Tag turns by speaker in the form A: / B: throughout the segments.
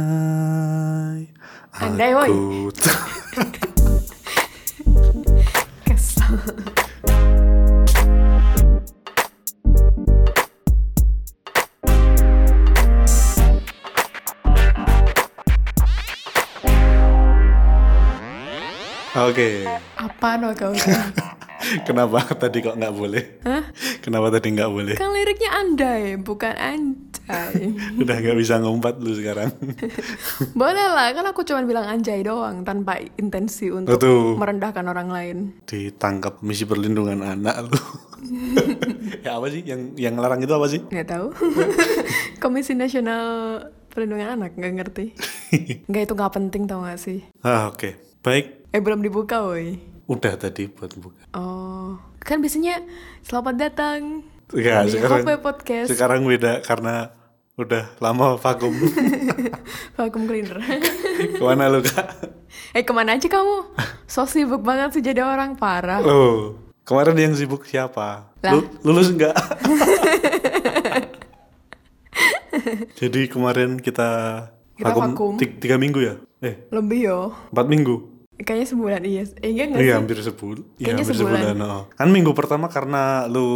A: Anjay.
B: Andai, woy.
A: aku ta-
B: Kesel.
A: Oke.
B: Apa no kau? kan
A: Kenapa tadi kok nggak boleh? Kenapa tadi nggak boleh?
B: liriknya andai, bukan anjay.
A: Udah nggak bisa ngumpat lu sekarang.
B: Boleh lah, kan aku cuma bilang anjay doang tanpa intensi untuk
A: Betul.
B: merendahkan orang lain.
A: Ditangkap misi perlindungan anak lu. ya apa sih yang yang larang itu apa sih?
B: Nggak tahu. Komisi Nasional Perlindungan Anak nggak ngerti. Nggak itu nggak penting tau nggak sih?
A: ah, oke. Baik.
B: Eh belum dibuka, woi.
A: Udah tadi buat buka.
B: Oh, kan biasanya selamat datang.
A: Ya,
B: Di
A: sekarang
B: HP Podcast.
A: sekarang beda karena udah lama vakum.
B: Vacuum cleaner.
A: Kemana lu kak?
B: eh kemana aja kamu? So sibuk banget sih jadi orang parah.
A: Loh, kemarin yang sibuk siapa?
B: Lah.
A: Lu- lulus enggak? Jadi kemarin kita,
B: Kita vakum.
A: ti- tiga minggu ya? Eh,
B: Lebih yo.
A: empat minggu?
B: Kayaknya sebulan iya. Eh enggak enggak
A: Iya,
B: sih?
A: hampir sebulan. Iya,
B: Kayaknya
A: hampir
B: sebulan.
A: sebulan. oh. Kan minggu pertama karena lu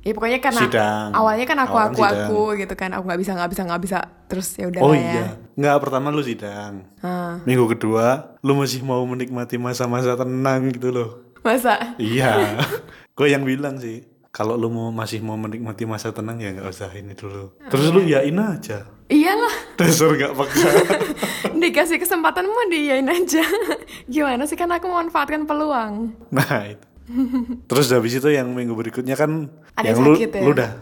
B: Ya pokoknya karena
A: Sidang.
B: awalnya kan aku
A: Awalnya
B: aku
A: sidang.
B: aku gitu kan. Aku nggak bisa nggak bisa nggak bisa. Terus ya udah
A: Oh
B: lah ya.
A: iya, enggak pertama lu sidang.
B: Ah.
A: Minggu kedua lu masih mau menikmati masa-masa tenang gitu loh.
B: Masa
A: Iya. Gue yang bilang sih, kalau lu mau masih mau menikmati masa tenang ya nggak usah ini dulu. Terus
B: Iya.
A: lu yain aja.
B: iyalah
A: Dasar nggak peka.
B: dikasih kesempatan mau diiyain aja. Gimana sih kan aku memanfaatkan peluang.
A: nah itu. Terus habis itu yang minggu berikutnya kan yang
B: Ada yang
A: lu,
B: sakit ya?
A: lu dah.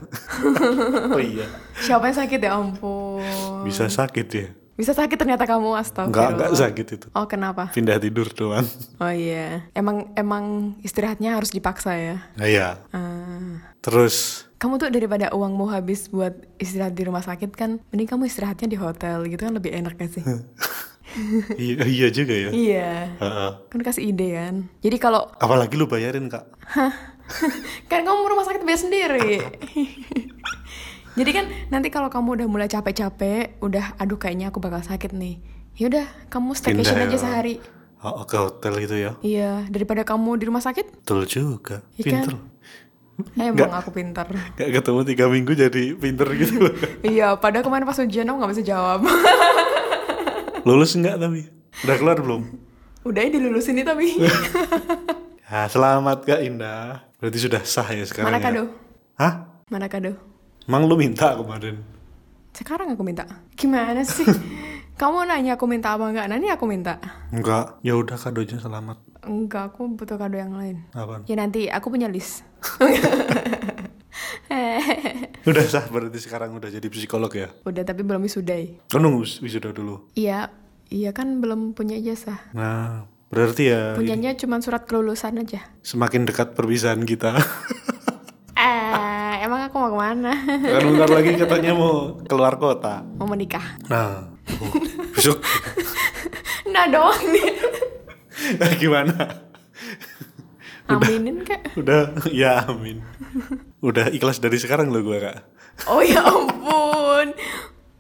A: oh iya.
B: Siapa yang sakit ya ampun.
A: Bisa sakit ya?
B: Bisa sakit ternyata kamu astagfirullah.
A: Nggak nggak sakit itu.
B: Oh kenapa?
A: Pindah tidur doang.
B: Oh iya, emang emang istirahatnya harus dipaksa ya.
A: Nah iya.
B: Ah.
A: Terus
B: kamu tuh daripada uangmu habis buat istirahat di rumah sakit kan, mending kamu istirahatnya di hotel gitu kan lebih enak gak sih?
A: iya, iya juga ya.
B: iya,
A: Heeh.
B: kan kasih ide kan. Jadi kalau
A: Apalagi lu bayarin kak.
B: kan kamu rumah sakit biaya sendiri. Jadi kan nanti kalau kamu udah mulai capek-capek, udah aduh kayaknya aku bakal sakit nih. Yaudah, kamu staycation
A: Pindah ya.
B: aja sehari.
A: Oh, ke hotel gitu ya.
B: Iya, daripada kamu di rumah sakit,
A: Betul juga.
B: Iya
A: Pinter.
B: kan? emang aku pintar.
A: Gak ketemu tiga minggu jadi pinter gitu loh.
B: iya, padahal kemarin pas ujian aku nggak bisa jawab.
A: Lulus nggak tapi? Udah keluar belum?
B: Udah ya dilulusin nih tapi.
A: Ya, selamat Kak Indah. Berarti sudah sah ya sekarang
B: Mana
A: ya?
B: kado?
A: Hah?
B: Mana kado?
A: Emang lu minta kemarin?
B: Sekarang aku minta. Gimana sih? Kamu nanya aku minta apa enggak? Nanti aku minta.
A: Enggak. Ya udah kadonya selamat.
B: Enggak, aku butuh kado yang lain.
A: Apaan?
B: Ya nanti aku punya list.
A: Ya Udah sah berarti sekarang udah jadi psikolog ya?
B: Udah tapi belum wisudai.
A: Kan nunggu wis- wisuda dulu.
B: Iya, iya kan belum punya ijazah.
A: Nah, berarti ya ini
B: Punyanya cuma surat kelulusan aja.
A: semakin dekat perpisahan kita.
B: Eh, emang aku mau kemana?
A: kan bentar lagi katanya mau keluar kota.
B: mau menikah.
A: Nah, oh, besok
B: Nah doang nih.
A: Nah, gimana?
B: Aminin kak.
A: Udah, ya amin. Udah ikhlas dari sekarang loh gue kak.
B: Oh ya ampun.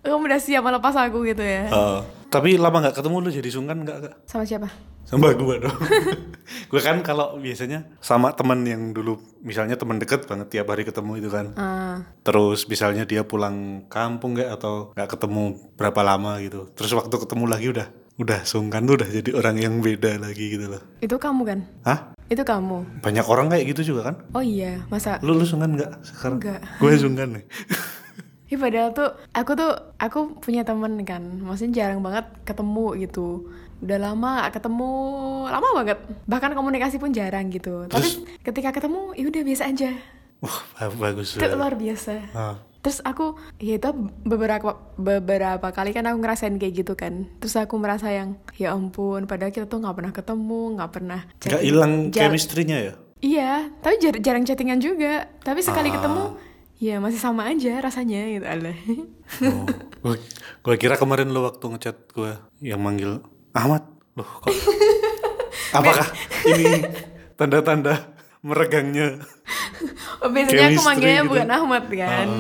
B: Kamu udah siap melepas aku gitu ya?
A: Oh, tapi lama nggak ketemu lu jadi sungkan nggak kak?
B: Sama siapa?
A: Sama gue dong. gue kan kalau biasanya sama teman yang dulu misalnya teman deket banget tiap hari ketemu itu kan.
B: Ah.
A: Terus misalnya dia pulang kampung nggak atau nggak ketemu berapa lama gitu. Terus waktu ketemu lagi udah udah sungkan tuh udah jadi orang yang beda lagi gitu loh.
B: Itu kamu kan?
A: Hah?
B: Itu kamu.
A: Banyak orang kayak gitu juga kan?
B: Oh iya, masa?
A: Lu, lu sungkan nggak sekarang?
B: Nggak.
A: Gue sungkan nih.
B: Ih Iya, padahal tuh aku tuh aku punya temen kan, maksudnya jarang banget ketemu gitu. Udah lama gak ketemu, lama banget. Bahkan komunikasi pun jarang gitu.
A: Terus-
B: Tapi ketika ketemu, ya udah biasa aja.
A: Wah bagus.
B: Itu
A: banget.
B: luar biasa.
A: Ah.
B: Terus aku, ya itu beberapa beberapa kali kan aku ngerasain kayak gitu kan. Terus aku merasa yang, ya ampun, padahal kita tuh nggak pernah ketemu, nggak pernah.
A: Nggak
B: chatting.
A: hilang
B: Jar-
A: chemistry-nya ya?
B: Iya, tapi jar- jarang chattingan juga. Tapi sekali
A: Ah.
B: ketemu, ya masih sama aja rasanya gitu. Alah.
A: Oh, gue kira kemarin lo waktu ngechat gue yang manggil Ahmad. Loh kok? Apakah ini tanda-tanda meregangnya?
B: Oh, biasanya aku
A: Chemistry
B: manggilnya
A: gitu.
B: bukan Ahmad kan.
A: Ah,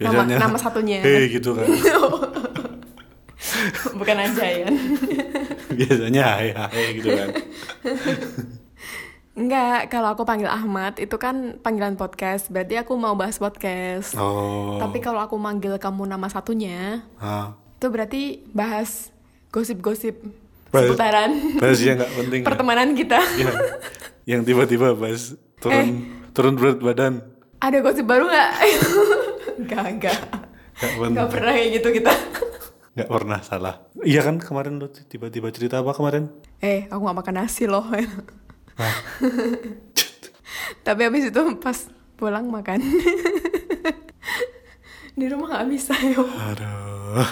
B: nama,
A: biasanya,
B: nama satunya.
A: Hei gitu kan.
B: bukan kan? anjayan
A: biasanya hai hai gitu kan
B: Enggak, kalau aku panggil Ahmad itu kan panggilan podcast, berarti aku mau bahas podcast.
A: oh
B: Tapi kalau aku manggil kamu nama satunya,
A: ah.
B: itu berarti bahas gosip-gosip
A: Bahas-
B: seputaran
A: bahas yang nggak penting ya.
B: pertemanan kita.
A: yang, yang tiba-tiba bahas turun
B: Eh.
A: turun berat badan
B: Ada gosip baru nggak? Enggak, enggak.
A: nggak
B: Enggak
A: pernah
B: pernah kayak gitu kita.
A: nggak pernah salah iya kan kemarin lu tiba-tiba cerita apa kemarin
B: eh, aku nggak makan nasi loh.
A: Hah?
B: Tapi habis itu pas pulang makan. Di rumah nggak bisa, yo.
A: aduh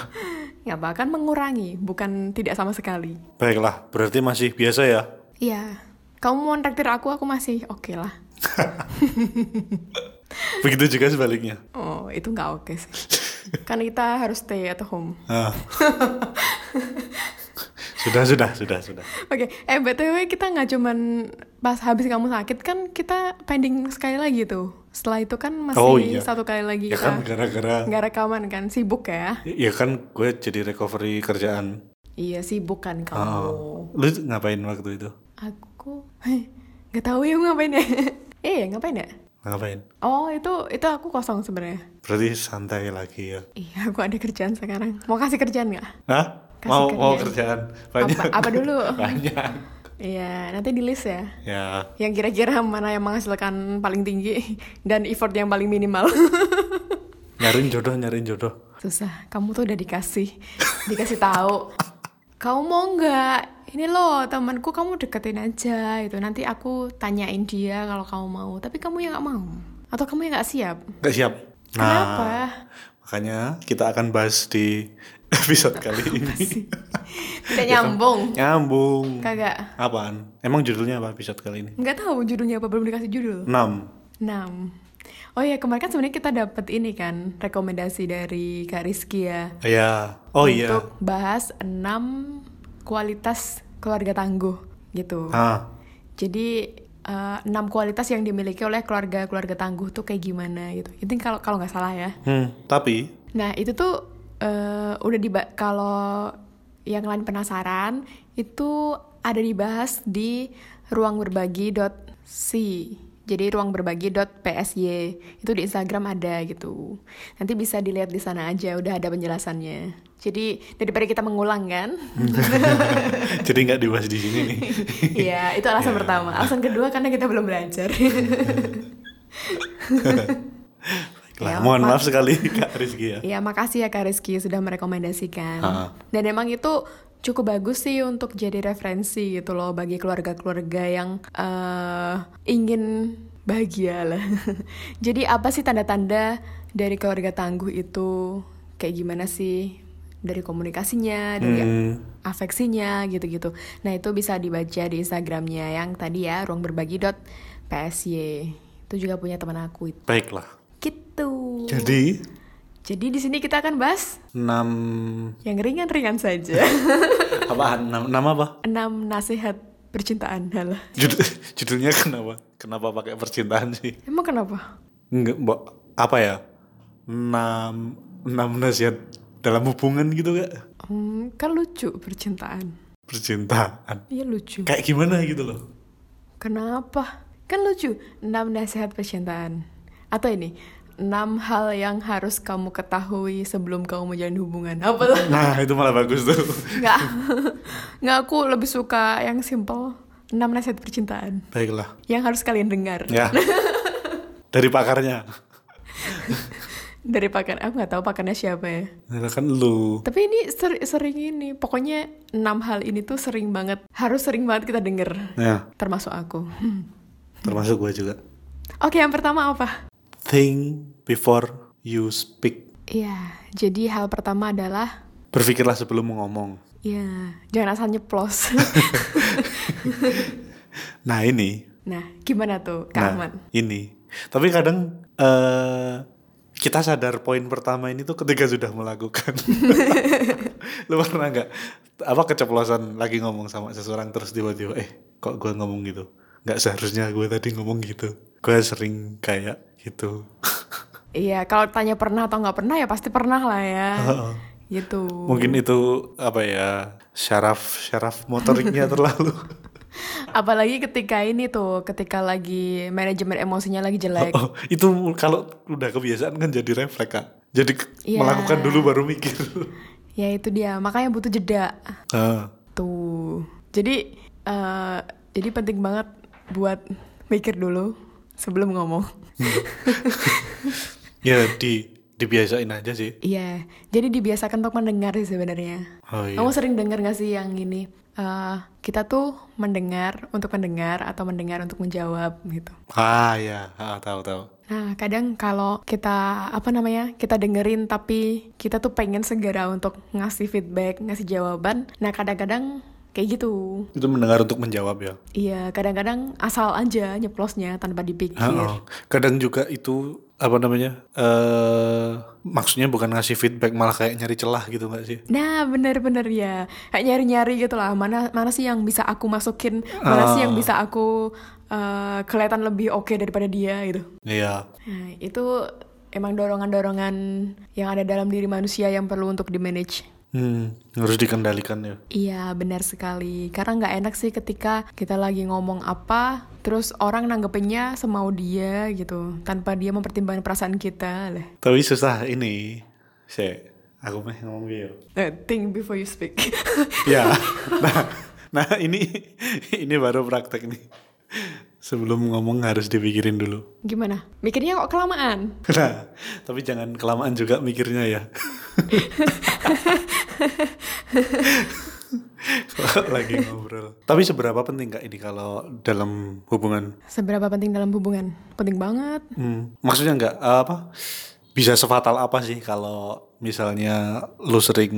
B: Ya, bahkan mengurangi, bukan tidak sama sekali.
A: baiklah berarti masih biasa ya
B: Iya, kamu mau traktir aku, aku masih oke lah.
A: begitu juga sebaliknya
B: Oh, itu nggak oke sih. kan kita harus stay at home.
A: Ah. sudah sudah sudah sudah
B: Oke, eh btw kita nggak cuman pas habis kamu sakit kan kita pending sekali lagi tuh. Setelah itu kan masih
A: Oh, iya.
B: satu kali lagi
A: ya
B: kita
A: kan gara-gara
B: nggak rekaman kan, sibuk ya?
A: ya kan gue jadi recovery kerjaan
B: Iya sibuk kan kamu.
A: Oh. lu ngapain waktu itu
B: Aku heh, nggak tahu ya ngapain ya? eh ngapain ya?
A: ngapain
B: Oh itu itu aku kosong sebenarnya.
A: berarti santai lagi ya
B: Iya aku ada kerjaan sekarang. Mau kasih kerjaan nggak?
A: Hah?
B: Kasih
A: mau mau kerjaan
B: kerjaan.
A: banyak
B: Apa- apa dulu?
A: banyak
B: Iya nanti di list ya.
A: ya
B: yang kira-kira mana yang menghasilkan paling tinggi dan effort yang paling minimal.
A: nyariin jodoh nyariin jodoh
B: Susah, kamu tuh udah dikasih, dikasih tahu. Kamu mau nggak? Ini loh temanku kamu deketin aja itu. Nanti aku tanyain dia kalau kamu mau. Tapi kamu yang nggak mau atau kamu yang nggak siap.
A: nggak siap Nah,
B: Kenapa?
A: makanya kita akan bahas di episode kali ini Ya kan?
B: Tidak nyambung.
A: nyambung
B: Kagak.
A: apaan emang judulnya apa episode kali ini
B: Nggak tahu judulnya apa belum dikasih judul.
A: 6
B: 6. Oh ya kemarin kan sebenarnya kita dapat ini kan rekomendasi dari Kak Rizky ya.
A: ya oh iya
B: untuk bahas 6 kualitas keluarga tangguh gitu.
A: ah
B: Jadi eh, enam kualitas yang dimiliki oleh keluarga-keluarga tangguh tuh kayak gimana gitu. Itu kalau kalau nggak salah ya.
A: hmm tapi
B: Nah, itu tuh eh, udah di kalau yang lain penasaran itu ada dibahas di ruangberbagi.c. Jadi ruangberbagi.psy itu di Instagram ada gitu. Nanti bisa dilihat di sana aja udah ada penjelasannya. Jadi daripada kita mengulang kan?
A: jadi nggak dibahas di sini nih
B: Iya, itu alasan pertama. Alasan kedua karena kita belum belajar.
A: Baiklah,
B: Ya,
A: mohon
B: Pak.
A: maaf sekali kak Rizky ya
B: Ya, makasih ya Kak Rizky sudah merekomendasikan.
A: Ha.
B: Dan emang itu cukup bagus sih untuk jadi referensi gitu loh bagi keluarga-keluarga yang eh, ingin bahagia lah. jadi apa sih tanda-tanda dari keluarga tangguh itu kayak gimana sih? Dari komunikasinya, dari afeksinya gitu-gitu. Nah, itu bisa dibaca di Instagramnya yang tadi ya, ruangberbagi.psy. Itu juga punya teman aku itu.
A: baiklah
B: Gitu.
A: jadi
B: Jadi di sini kita akan bahas
A: 6
B: yang ringan-ringan saja.
A: apaan Nam- nama apa
B: Enam nasihat percintaan. Halah.
A: Judul- judulnya kenapa kenapa pakai percintaan sih
B: Emang kenapa?
A: Enggak, mbak. Apa ya? Enam, enam nasihat dalam hubungan gitu kak?
B: Hmm, kan lucu percintaan.
A: Percintaan.
B: Iya lucu.
A: Kayak gimana gitu loh.
B: Kenapa? Kan lucu. Enam nasihat percintaan. Atau ini, enam hal yang harus kamu ketahui sebelum kamu menjalin hubungan. Apalah?
A: Nah itu malah bagus tuh.
B: Nggak. Nggak, aku lebih suka yang simple. Enam nasihat percintaan.
A: Baiklah.
B: Yang harus kalian dengar.
A: Ya. Dari pakarnya.
B: Dari pakar. Aku nggak tahu pakarnya siapa ya.
A: Nah, kan lu.
B: Tapi ini ser- sering ini, pokoknya enam hal ini tuh sering banget, harus sering banget kita denger,
A: Ya,
B: termasuk aku. Hmm.
A: termasuk gue juga.
B: Oke, yang pertama apa?
A: Think before you speak.
B: Iya, jadi hal pertama adalah,
A: Berpikirlah sebelum ngomong.
B: ya jangan asal nyeplos.
A: Nah ini.
B: nah, gimana tuh, Kak
A: Nah
B: Ahmad?
A: ini. Tapi kadang eh kita sadar poin pertama ini tuh ketika sudah melakukan. Lu pernah nggak apa keceplosan lagi ngomong sama seseorang terus tiba-tiba eh kok gue ngomong gitu? Nggak seharusnya gue tadi ngomong gitu. Gue sering kayak gitu.
B: Iya, kalau tanya pernah atau nggak pernah ya pasti pernah lah ya.
A: Heeh.
B: gitu.
A: Mungkin itu apa ya syaraf syaraf motoriknya terlalu.
B: Apalagi ketika ini tuh, ketika lagi manajemen emosinya lagi jelek.
A: Oh, itu kalau udah kebiasaan kan jadi refleks kak. Jadi ke-
B: Iya.
A: melakukan dulu baru mikir.
B: Ya itu dia, makanya butuh jeda.
A: Ah,
B: Tuh. Jadi eh, jadi penting banget buat mikir dulu sebelum ngomong.
A: Hmm. ya di dibiasain aja sih.
B: Iya. Jadi dibiasakan untuk mendengar sih sebenarnya.
A: Oh iya.
B: Kamu sering dengar gak sih yang ini? Eh, kita tuh mendengar untuk mendengar atau mendengar untuk menjawab gitu.
A: Ah ya, ah, tahu tahu.
B: Nah, kadang kalau kita apa namanya? kita dengerin tapi kita tuh pengen segera untuk ngasih feedback, ngasih jawaban. Nah, kadang-kadang kayak gitu.
A: Itu mendengar untuk menjawab ya.
B: Iya, kadang-kadang asal aja nyeplosnya tanpa dipikir.
A: Ah, oh. Kadang juga itu apa namanya? eh maksudnya bukan ngasih feedback malah kayak nyari celah gitu nggak sih?
B: Nah, bener-bener ya. Kayak nyari-nyari gitu lah. Mana, mana sih yang bisa aku masukin? Mana sih yang bisa aku eh, kelihatan lebih oke daripada dia gitu.
A: Iya.
B: Nah, itu emang dorongan-dorongan yang ada dalam diri manusia yang perlu untuk di-manage.
A: Hmm, harus dikendalikan ya.
B: Iya, benar sekali. Karena nggak enak sih ketika kita lagi ngomong apa, terus orang nanggepinnya semau dia gitu, tanpa dia mempertimbangkan perasaan kita. Lah.
A: Tapi susah ini. Saya, aku mah ngomong gitu.
B: Eh, think before you speak.
A: ya. Nah, nah ini ini baru praktek nih. Sebelum ngomong harus dipikirin dulu.
B: Gimana? Mikirnya kok kelamaan?
A: Nah, tapi jangan kelamaan juga mikirnya ya. Kalau lagi ngobrol. Tapi seberapa penting kak ini kalau dalam hubungan?
B: Seberapa penting dalam hubungan? Penting banget.
A: Hmm, maksudnya nggak eh, apa? Bisa sefatal apa sih kalau misalnya lu sering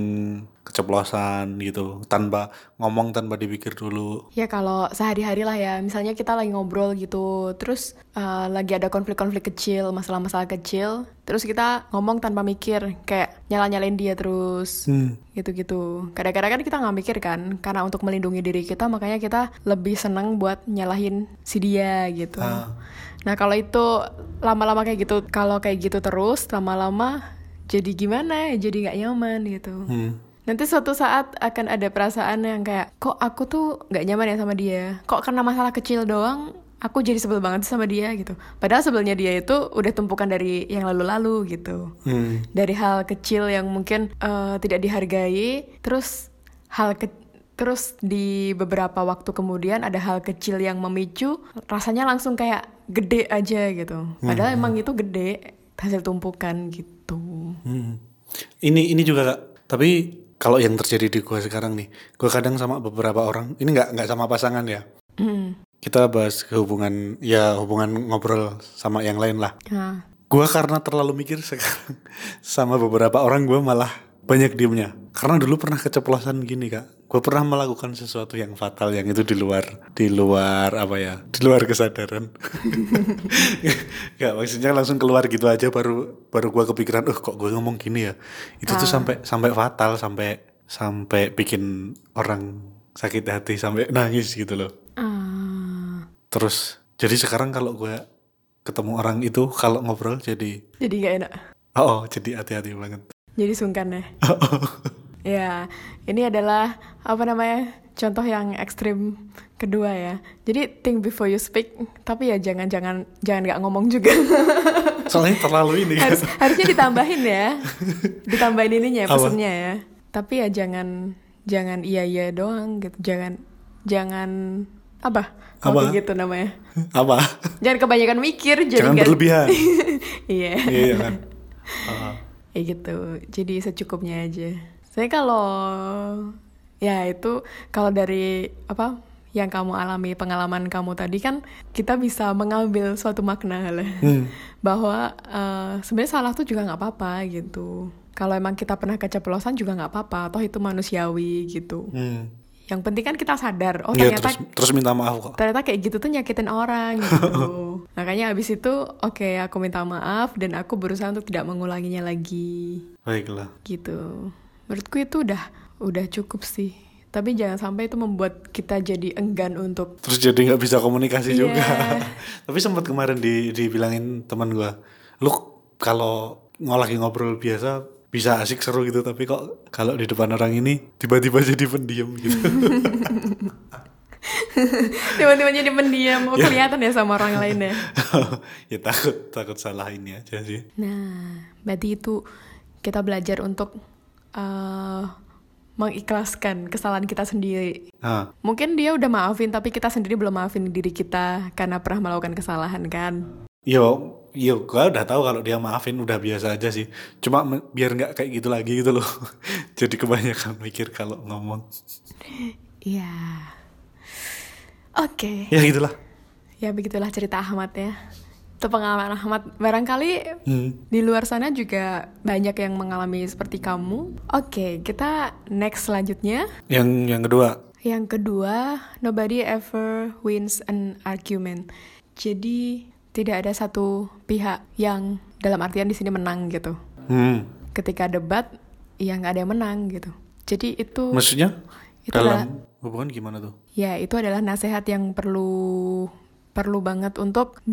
A: keceplosan gitu tanpa ngomong tanpa dipikir dulu?
B: Ya kalau sehari-hari lah ya, misalnya kita lagi ngobrol gitu, terus eh, lagi ada konflik-konflik kecil, masalah-masalah kecil, terus kita ngomong tanpa mikir, kayak nyala-nyalain dia terus,
A: Hmm.
B: gitu-gitu. Kadang-kadang kan kita nggak mikir kan, karena untuk melindungi diri kita, makanya kita lebih seneng buat nyalahin si dia gitu. Nah kalau itu lama-lama kayak gitu, kalau kayak gitu terus, lama-lama jadi gimana? ya, Jadi nggak nyaman gitu.
A: Hmm.
B: Nanti suatu saat akan ada perasaan yang kayak, kok aku tuh nggak nyaman ya sama dia? Kok karena masalah kecil doang, aku jadi sebel banget sama dia gitu. Padahal sebelnya dia itu udah tumpukan dari yang lalu-lalu gitu.
A: Hmm.
B: Dari hal kecil yang mungkin eh, tidak dihargai, terus hal ke- terus di beberapa waktu kemudian ada hal kecil yang memicu, rasanya langsung kayak gede aja gitu. Padahal emang itu gede hasil tumpukan gitu.
A: Hmm. Ini ini juga kak. Tapi kalau yang terjadi di gua sekarang nih, gua kadang sama beberapa orang. Ini nggak nggak sama pasangan ya.
B: Hmm.
A: Kita bahas ke hubungan ya hubungan ngobrol sama yang lain lah.
B: Nah,
A: Gua karena terlalu mikir sekarang sama beberapa orang gua malah banyak diemnya. Karena dulu pernah keceplosan gini kak. Gue pernah melakukan sesuatu yang fatal yang itu di luar di luar apa ya di luar kesadaran. Gak maksudnya langsung keluar gitu aja baru baru gue kepikiran, eh kok gue ngomong gini ya. Itu tuh sampai sampai fatal sampai sampai bikin orang sakit hati sampai nangis gitu loh.
B: ah.
A: Terus jadi sekarang kalau gue ketemu orang itu kalau ngobrol jadi
B: Jadi gak enak.
A: Oh, oh, jadi hati-hati banget.
B: Jadi sungkan ya.
A: Oh.
B: Ya, ini adalah apa namanya? Contoh yang ekstrim kedua ya. Jadi think before you speak, tapi ya jangan-jangan jangan nggak ngomong juga.
A: Soalnya terlalu ini kan.
B: Harus harusnya ditambahin ya. Ditambahin ininya ya,
A: Apa?
B: pesennya ya. Tapi ya jangan jangan iya iya doang gitu. Jangan jangan apa? Kalau
A: Apa?
B: kayak gitu namanya.
A: Apa?
B: Jangan kebanyakan mikir jadi
A: Jangan
B: nggak-
A: berlebihan.
B: Iya.
A: Iya kan. Ah,
B: Ya gitu, jadi secukupnya aja. Saya kalau ya itu kalau dari apa yang kamu alami pengalaman kamu tadi kan kita bisa mengambil suatu makna lah
A: Hmm.
B: bahwa eh, sebenarnya salah tuh juga nggak apa-apa gitu. Kalau emang kita pernah keceplosan juga nggak apa-apa, toh itu manusiawi gitu.
A: Hmm.
B: Yang penting kan kita sadar, oh
A: Iya,
B: ternyata
A: terus terus minta maaf kok.
B: ternyata kayak gitu tuh nyakitin orang gitu. Makanya abis itu oke aku minta maaf dan aku berusaha untuk tidak mengulanginya lagi
A: Baiklah.
B: gitu. Menurutku itu udah udah cukup sih. Tapi jangan sampai itu membuat kita jadi enggan untuk
A: Terus jadi nggak bisa komunikasi
B: Iya.
A: juga. Tapi sempat kemarin di dibilangin teman gua, "Lu kalau ng- lagi ngobrol biasa bisa asik seru gitu tapi kok kalau di depan orang ini tiba-tiba jadi pendiam gitu
B: Tiba-tiba jadi pendiam, oh, kelihatan ya sama orang lain ya.
A: ya takut takut salah ini aja sih
B: Nah, berarti itu kita belajar untuk eh, mengikhlaskan kesalahan kita sendiri.
A: nah
B: Mungkin dia udah maafin, tapi kita sendiri belum maafin diri kita karena pernah melakukan kesalahan kan.
A: yo yo gua udah tahu kalau dia maafin udah biasa aja sih cuma me- biar nggak kayak gitu lagi gitu loh jadi kebanyakan mikir kalau ngomong
B: Iya. Oke,
A: ya gitulah
B: ya begitulah cerita Ahmad ya. Itu pengalaman Ahmad. Barangkali
A: hmm.
B: Di luar sana juga banyak yang mengalami seperti kamu. Oke, kita next selanjutnya.
A: yang yang kedua
B: Yang kedua, nobody ever wins an argument. Jadi, tidak ada satu pihak yang dalam artian di sini menang gitu.
A: hmm.
B: Ketika debat, yang nggak ada yang menang gitu. Jadi itu
A: maksudnya
B: Itu lah.
A: dalam hubungan gimana tuh
B: ya itu adalah nasihat yang perlu perlu banget untuk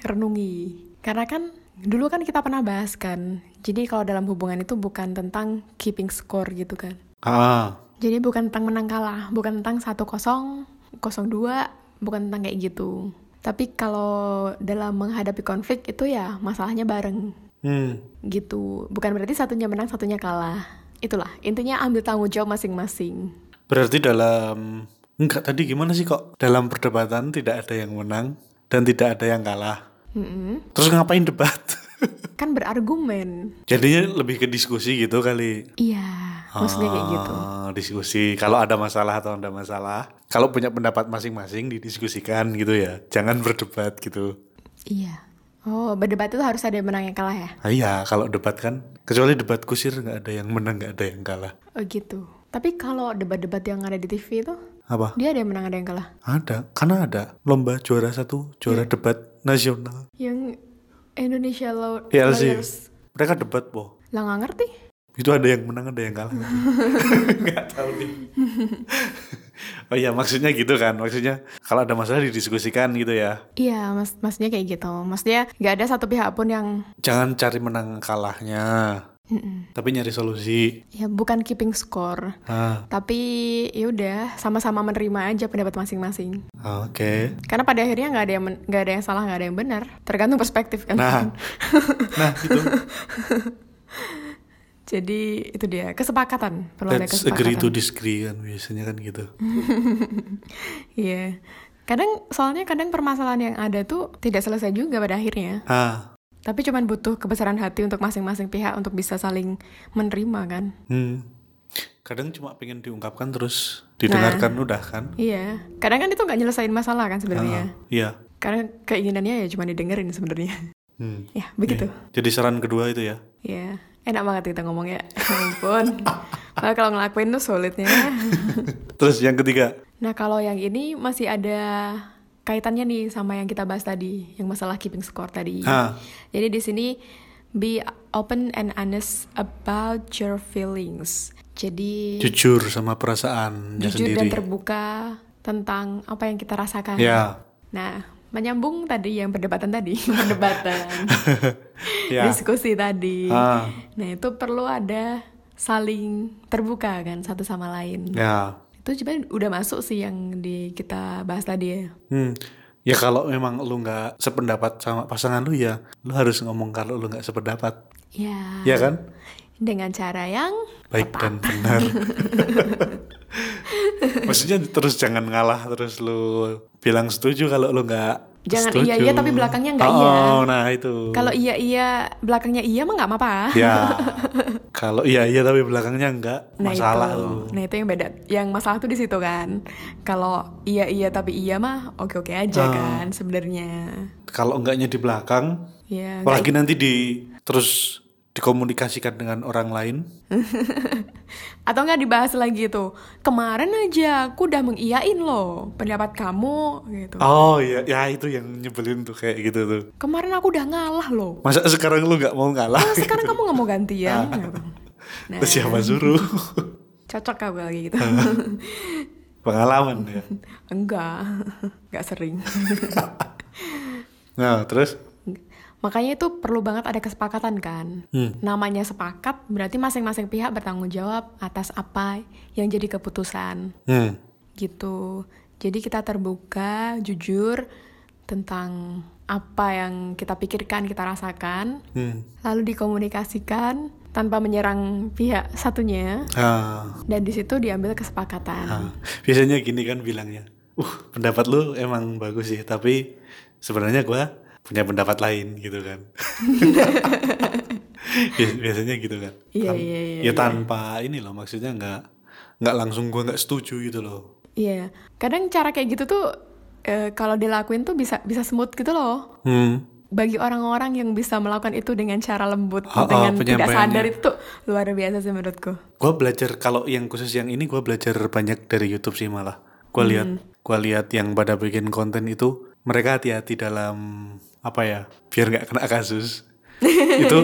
B: direnungi karena kan dulu kan kita pernah bahas kan jadi kalau dalam hubungan itu bukan tentang keeping score gitu kan
A: ah
B: jadi bukan tentang menang kalah bukan tentang 1-0 0-2 bukan tentang kayak gitu tapi kalau dalam menghadapi konflik itu ya masalahnya bareng
A: hmm.
B: gitu bukan berarti satunya menang satunya kalah itulah intinya ambil tanggung jawab masing-masing
A: Berarti dalam enggak tadi gimana sih kok dalam perdebatan tidak ada yang menang dan tidak ada yang kalah.
B: Mm-mm.
A: Terus ngapain debat?
B: kan berargumen
A: Jadinya lebih ke diskusi gitu kali.
B: Iya, maksudnya kayak gitu.
A: Ah, Diskusi kalau ada masalah atau ada masalah, kalau punya pendapat masing-masing didiskusikan gitu ya. Jangan berdebat gitu.
B: Iya. Oh, berdebat itu harus ada yang menang yang kalah ya?
A: Ah, iya, kalau debat kan kecuali debat kusir nggak ada yang menang, nggak ada yang kalah.
B: Oh gitu. Tapi kalau debat-debat yang ada di TV itu,
A: Apa?
B: dia ada yang menang ada yang kalah.
A: Ada, karena ada lomba juara satu,
B: Iya.
A: juara debat nasional.
B: Yang Indonesia
A: ILC.
B: Law Lawyers.
A: Mereka debat, boh.
B: Lah nggak ngerti.
A: itu ada yang menang ada yang kalah nggak tahu nih oh iya maksudnya gitu kan maksudnya kalau ada masalah didiskusikan gitu ya
B: Iya, mas maksudnya kayak gitu. Maksudnya nggak ada satu pihak pun yang
A: jangan cari menang kalahnya
B: Mm-mm.
A: tapi nyari solusi
B: ya bukan keeping score.
A: ah
B: Tapi ya udah sama-sama menerima aja pendapat masing-masing.
A: ah, oke
B: Karena pada akhirnya nggak ada yang men- nggak ada yang salah nggak ada yang benar. Tergantung perspektif kan.
A: nah nah gitu
B: Jadi itu dia kesepakatan perlu ada
A: let's agree to
B: kesepakatan. Hmm.
A: disagree kan biasanya kan gitu
B: Iya. Kadang soalnya kadang permasalahan yang ada tuh tidak selesai juga pada akhirnya.
A: ah
B: Tapi cuman butuh kebesaran hati untuk masing-masing pihak untuk bisa saling menerima kan.
A: hmm. kadang cuma pengen diungkapkan terus didengarkan
B: Nah.
A: udah kan
B: Iya. Kadang kan itu nggak nyelesain masalah
A: Ah,
B: kan sebenarnya.
A: iya
B: Karena keinginannya ya cuma didengerin sebenarnya.
A: hmm.
B: ya, begitu.
A: jadi saran kedua itu ya
B: Iya. Enak banget kita ngomongnya. Ya ampun. Malah kalau ngelakuin tuh sulitnya.
A: terus yang ketiga
B: Nah, kalau yang ini masih ada kaitannya nih sama yang kita bahas tadi, yang masalah keeping score tadi.
A: Ah.
B: Jadi di sini be open and honest about your feelings. Jadi
A: jujur sama perasaannya
B: Iya. jujur
A: sendiri.
B: dan terbuka tentang apa yang kita rasakan.
A: Ya.
B: Nah, menyambung tadi yang perdebatan tadi, perdebatan,
A: Ya.
B: diskusi tadi.
A: Ah.
B: Nah, itu perlu ada saling terbuka kan satu sama lain.
A: Ya.
B: Itu sebenarnya udah masuk sih yang di kita bahas tadi ya.
A: Hmm. Ya kalau memang lu nggak sependapat sama pasangan lu ya, lu harus ngomong kalau lu nggak sependapat,
B: Ya.
A: ya kan?
B: Dengan cara yang
A: Baik dan benar. Maksudnya terus jangan ngalah terus lu bilang setuju kalau lu nggak
B: Jangan
A: setuju.
B: iya-iya tapi belakangnya nggak
A: oh,
B: iya.
A: nah itu.
B: kalau iya iya belakangnya iya mah nggak apa-apa.
A: ya. Kalau iya iya tapi belakangnya nggak
B: Nah
A: masalah
B: itu,
A: lu.
B: nah itu yang beda. Yang masalah tuh di situ kan. Kalau iya iya tapi iya mah oke oke aja
A: Ah.
B: kan sebenarnya.
A: Kalau enggaknya di belakang,
B: Ya. nggak-
A: apalagi nanti di terus dikomunikasikan dengan orang lain.
B: Atau nggak dibahas lagi tuh. Kemarin aja aku udah mengiyain loh pendapat kamu gitu.
A: Oh iya, ya itu yang nyebelin tuh kayak gitu tuh.
B: Kemarin aku udah ngalah loh.
A: Masa sekarang lu nggak mau ngalah?
B: Nah, sekarang kamu nggak mau gantian.
A: Ah.
B: gitu. Nah,
A: Terus siapa suruh?
B: cocok aku lagi gitu.
A: Ah. Pengalaman ya.
B: Enggak, enggak sering.
A: Nah terus
B: Makanya itu perlu banget ada kesepakatan kan.
A: Hmm.
B: Namanya sepakat berarti masing-masing pihak bertanggung jawab atas apa yang jadi keputusan
A: Hmm.
B: gitu. Jadi kita terbuka, jujur tentang apa yang kita pikirkan, kita rasakan,
A: Hmm.
B: lalu dikomunikasikan tanpa menyerang pihak satunya
A: Ah.
B: dan di situ diambil kesepakatan.
A: Ah, biasanya gini kan bilangnya, uh pendapat lu emang bagus sih, tapi sebenarnya gua punya pendapat lain gitu kan. Bi- biasanya gitu kan.
B: Iya,
A: Tan-
B: iya, iya,
A: Ya tanpa ini loh, maksudnya nggak nggak langsung gua nggak setuju gitu loh.
B: Iya. Kadang cara kayak gitu tuh eh, kalau dilakuin tuh bisa bisa smooth gitu loh.
A: Hmm.
B: Bagi orang-orang yang bisa melakukan itu dengan cara lembut,
A: Oh, oh,
B: dengan tidak
A: penyampaiannya.
B: sadar itu tuh luar biasa sih menurutku.
A: Gua belajar kalau yang khusus yang ini gua belajar banyak dari YouTube sih malah. Gua lihat gua lihat yang pada bikin konten itu mereka hati-hati dalam apa ya biar nggak kena kasus. itu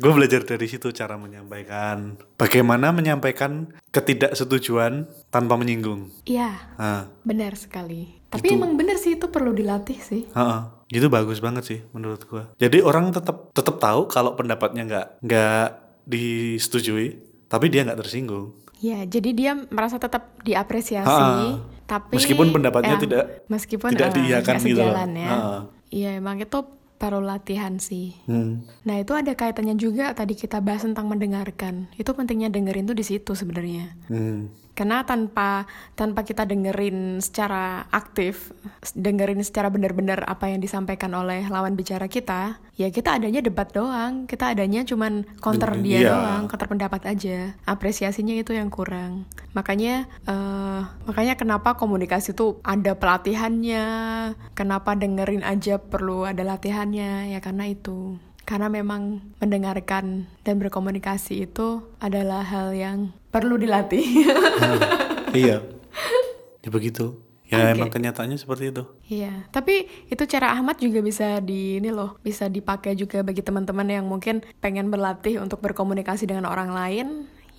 A: gue belajar dari situ cara menyampaikan bagaimana menyampaikan ketidaksetujuan tanpa menyinggung.
B: Iya,
A: Ah,
B: benar sekali. Tapi emang benar sih itu perlu dilatih sih.
A: heeh. Itu bagus banget sih menurut gua. Jadi orang tetap tetap tahu kalau pendapatnya nggak nggak disetujui, tapi dia nggak tersinggung.
B: Iya, jadi dia merasa tetap diapresiasi,
A: Ha-ha.
B: tapi ya,
A: Meskipun pendapatnya tidak-
B: meskipun
A: tidak
B: eh,
A: diiyakan
B: nggak
A: gitu loh.
B: sejalan ya.
A: Ha-ha.
B: Iya, emang itu perlu latihan sih.
A: Hmm.
B: Nah, itu ada kaitannya juga tadi kita bahas tentang mendengarkan. Itu pentingnya dengerin tuh di situ sebenarnya.
A: Hmm.
B: Karena tanpa tanpa kita dengerin secara aktif, s- dengerin secara benar-benar apa yang disampaikan oleh lawan bicara kita, ya kita adanya debat doang, kita adanya cuman counter
A: Bener,
B: dia
A: iya.
B: doang, counter pendapat aja. Apresiasinya itu yang kurang. Makanya eh, makanya kenapa komunikasi tuh ada pelatihannya, kenapa dengerin aja perlu ada latihannya, ya karena itu. Karena memang mendengarkan dan berkomunikasi itu adalah hal yang perlu dilatih.
A: iya. Ya begitu. Ya
B: Oke.
A: emang kenyataannya seperti itu.
B: Iya, tapi itu cara Ahmad juga bisa di ini loh, bisa dipakai juga bagi teman-teman yang mungkin pengen berlatih untuk berkomunikasi dengan orang lain.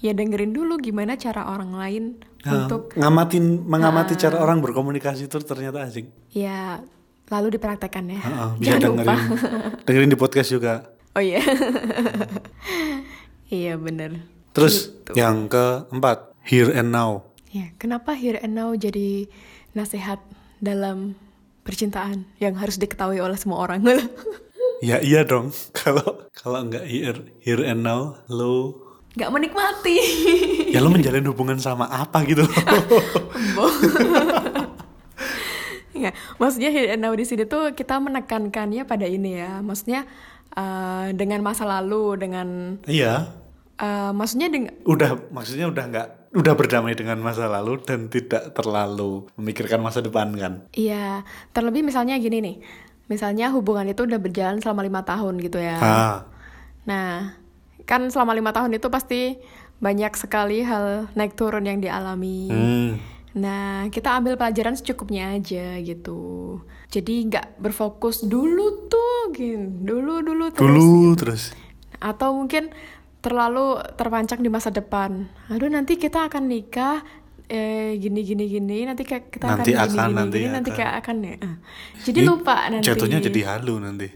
B: Ya dengerin dulu gimana cara orang lain
A: Ah,
B: untuk eh,
A: ngamatin mengamati cara orang berkomunikasi itu ternyata asik.
B: ya lalu dipraktekkan ya.
A: Heeh, bisa
B: Jangan lupa.
A: Ah, dengerin dengerin di podcast juga.
B: Oh iya. iya bener.
A: Terus
B: Gitu.
A: yang keempat, here and now.
B: Ya, kenapa here and now jadi nasihat dalam percintaan yang harus diketahui oleh semua orang?
A: Ya iya dong. Kalau kalau nggak here here and now, lo
B: Gak menikmati.
A: ya lo menjalin hubungan sama apa gitu loh.
B: Iya, maksudnya here and now di sini tuh kita menekankannya pada ini ya. Maksudnya eh, dengan masa lalu, dengan
A: iya,
B: eh, maksudnya dengan
A: udah maksudnya udah nggak udah berdamai dengan masa lalu dan tidak terlalu memikirkan masa depan kan.
B: iya, terlebih misalnya gini nih. Misalnya hubungan itu udah berjalan selama lima tahun gitu ya.
A: Ah,
B: Nah, kan selama lima tahun itu pasti banyak sekali hal naik turun yang dialami.
A: hmm,
B: Nah, kita ambil pelajaran secukupnya aja gitu. Jadi nggak berfokus dulu tuh, gini, dulu dulu terus. iya.
A: dulu terus.
B: atau mungkin terlalu terpancang di masa depan. Aduh nanti kita akan nikah eh gini gini gini nanti kayak kita
A: Nanti
B: akan gini
A: akan,
B: gini
A: nanti
B: gini nanti
A: akan.
B: kayak akan ya. Ah. Jadi
A: Ini
B: lupa nanti.
A: Jatuhnya jadi halu nanti.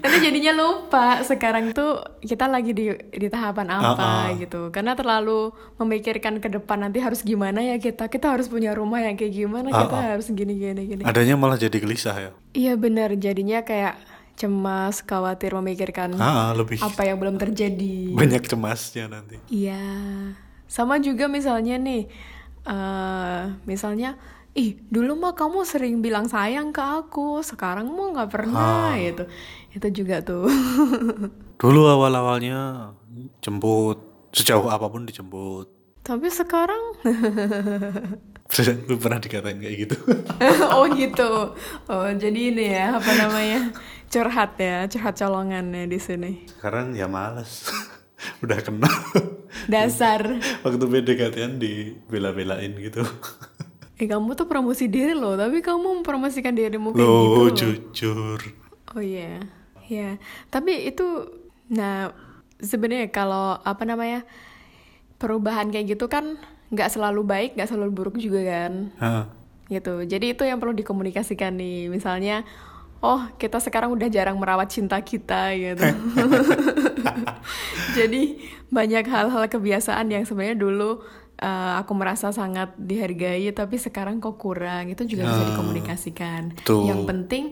B: nanti jadinya lupa sekarang tuh kita lagi di di tahapan apa
A: Ah, ah.
B: gitu. Karena terlalu memikirkan ke depan nanti harus gimana ya kita. Kita harus punya rumah yang kayak gimana,
A: Ah,
B: kita
A: ah.
B: harus gini gini gini.
A: Adanya malah jadi gelisah ya.
B: Iya benar, jadinya kayak cemas, khawatir memikirkan
A: Ah, ah, lebih
B: Oh. apa yang belum terjadi.
A: banyak cemasnya nanti.
B: Iya, sama juga misalnya nih, eh misalnya, ih dulu mah kamu sering bilang sayang ke aku, sekarang mah nggak pernah gitu, itu juga tuh.
A: Dulu awal-awalnya jemput, sejauh apapun dijemput.
B: Tapi sekarang,
A: Lu pernah dikatain kayak gitu?
B: oh gitu, oh jadi ini ya apa namanya curhat ya, curhat colongannya di sini.
A: Sekarang ya males. Udah kenal.
B: Dasar,
A: Waktu PDKT-an dibela-belain gitu.
B: Oh, eh kamu tuh promosi diri loh, tapi kamu mempromosikan dirimu kayak gitu.
A: Loh,
B: loh.
A: jujur.
B: Oh iya, iya. Tapi itu, nah sebenarnya kalau apa namanya perubahan kayak gitu kan nggak selalu baik, nggak selalu buruk juga kan,
A: Hah.
B: gitu. Jadi itu yang perlu dikomunikasikan nih. Misalnya, oh kita sekarang udah jarang merawat cinta kita gitu. Jadi banyak hal-hal kebiasaan yang sebenarnya dulu eh, aku merasa sangat dihargai, tapi sekarang kok kurang. Itu juga bisa
A: Ah,
B: dikomunikasikan.
A: betul.
B: Yang penting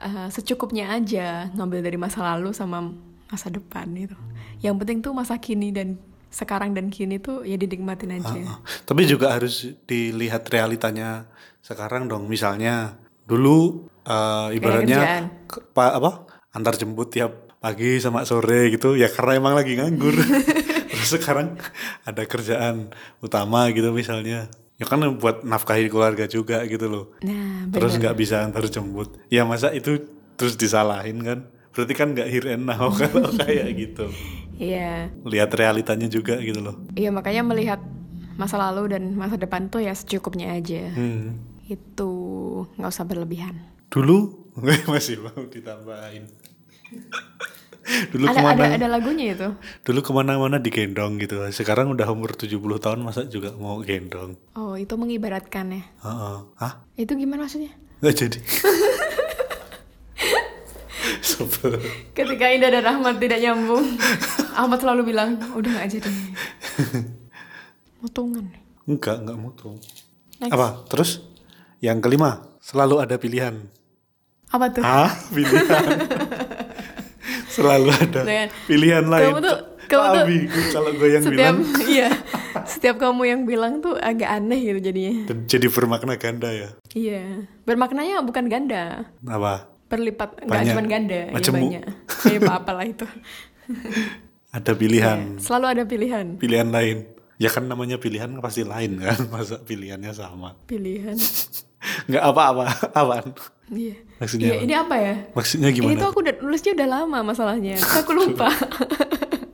B: eh, secukupnya aja ngambil dari masa lalu sama masa depan gitu. Yang penting tuh masa kini dan sekarang dan kini tuh ya dinikmatin aja.
A: Heeh. Oh. Tapi juga harus dilihat realitanya sekarang dong. Misalnya dulu eh,
B: kerjaan.
A: ibaratnya ke- pa- apa antar jemput tiap pagi sama sore gitu ya karena emang lagi nganggur. Terus sekarang ada kerjaan utama gitu misalnya. Ya kan buat nafkahi keluarga juga gitu loh.
B: Nah,
A: Terus
B: bener.
A: nggak bisa antar jemput. Ya masa itu terus disalahin kan? Berarti kan nggak here and now kalau kayak gitu.
B: Iya.
A: Lihat realitanya juga gitu loh.
B: Iya makanya melihat masa lalu dan masa depan tuh ya secukupnya aja.
A: Hmm.
B: Itu nggak usah berlebihan.
A: Dulu masih mau ditambahin. Dulu
B: ada
A: kemana?
B: ada ada lagunya itu.
A: Dulu kemana-mana digendong gitu. Sekarang udah umur 70 tahun masa juga mau gendong.
B: Oh itu mengibaratkan ya.
A: Heeh. Hah?
B: Itu gimana maksudnya?
A: Nggak jadi. Sebel.
B: Ketika Indah dan Rahmat tidak nyambung, Ahmad selalu bilang udah nggak jadi. Motongan.
A: Enggak, enggak mutu.
B: Next.
A: Apa? Terus yang kelima, selalu ada pilihan.
B: Apa tuh?
A: Hah? Pilihan. selalu ada
B: Dengan-
A: pilihan lain.
B: Kamu tuh- kamu tuh-
A: Abi, kalau gue yang
B: setiap
A: bilang
B: iya setiap kamu yang bilang tuh agak aneh gitu jadinya.
A: jadi bermakna ganda ya.
B: Iya bermaknanya bukan ganda.
A: Apa?
B: berlipat nggak
A: Banyak.
B: cuma ganda
A: Macam
B: ya
A: mu.
B: banyak ya apa apalah itu
A: Ada pilihan.
B: selalu ada pilihan
A: pilihan lain ya kan namanya pilihan pasti lain kan masa pilihannya sama
B: pilihan
A: nggak apa-apa apaan
B: iya
A: Maksudnya
B: Iya,
A: apa?
B: ini apa ya
A: maksudnya
B: ini tuh
A: gimana
B: aku udah nulisnya udah lama masalahnya Terus aku lupa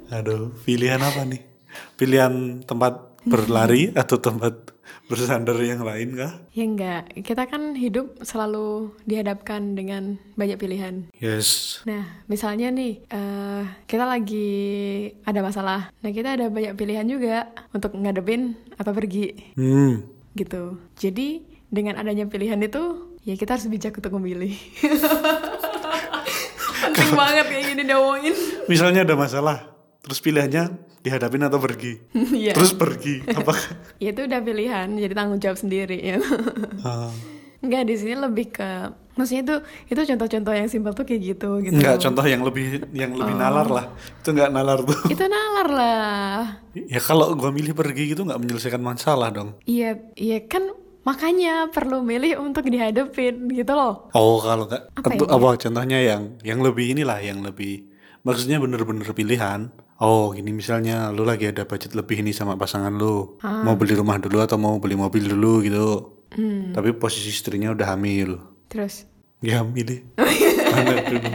A: aduh pilihan apa nih pilihan tempat berlari atau tempat bersandar yang lain kah
B: ya enggak kita kan hidup selalu dihadapkan dengan banyak pilihan
A: yes
B: nah misalnya nih eh kita lagi ada masalah nah kita ada banyak pilihan juga untuk ngadepin atau pergi
A: hmm
B: gitu jadi dengan adanya pilihan itu ya kita harus bijak untuk memilih penting banget kayak gini diomongin
A: misalnya ada masalah terus pilihannya dihadapin atau pergi
B: Iya.
A: terus pergi apa
B: ya itu udah pilihan jadi tanggung jawab sendiri ya
A: Ah,
B: nggak di sini lebih ke maksudnya itu itu contoh-contoh yang simpel tuh kayak gitu gitu Oh.
A: nggak contoh yang lebih yang lebih nalar lah itu nggak nalar tuh
B: itu nalar lah
A: ya kalau gua milih pergi gitu nggak menyelesaikan masalah dong
B: iya iya kan makanya perlu milih untuk dihadapin gitu loh
A: Oh kalau nggak
B: Apa
A: tentu apa contohnya yang yang lebih inilah yang lebih maksudnya bener-bener pilihan. Oh gini misalnya lu lagi ada budget lebih ini sama pasangan lu mau beli rumah dulu atau mau beli mobil dulu gitu. Tapi posisi istrinya udah hamil.
B: terus
A: Ya milih mana dulu.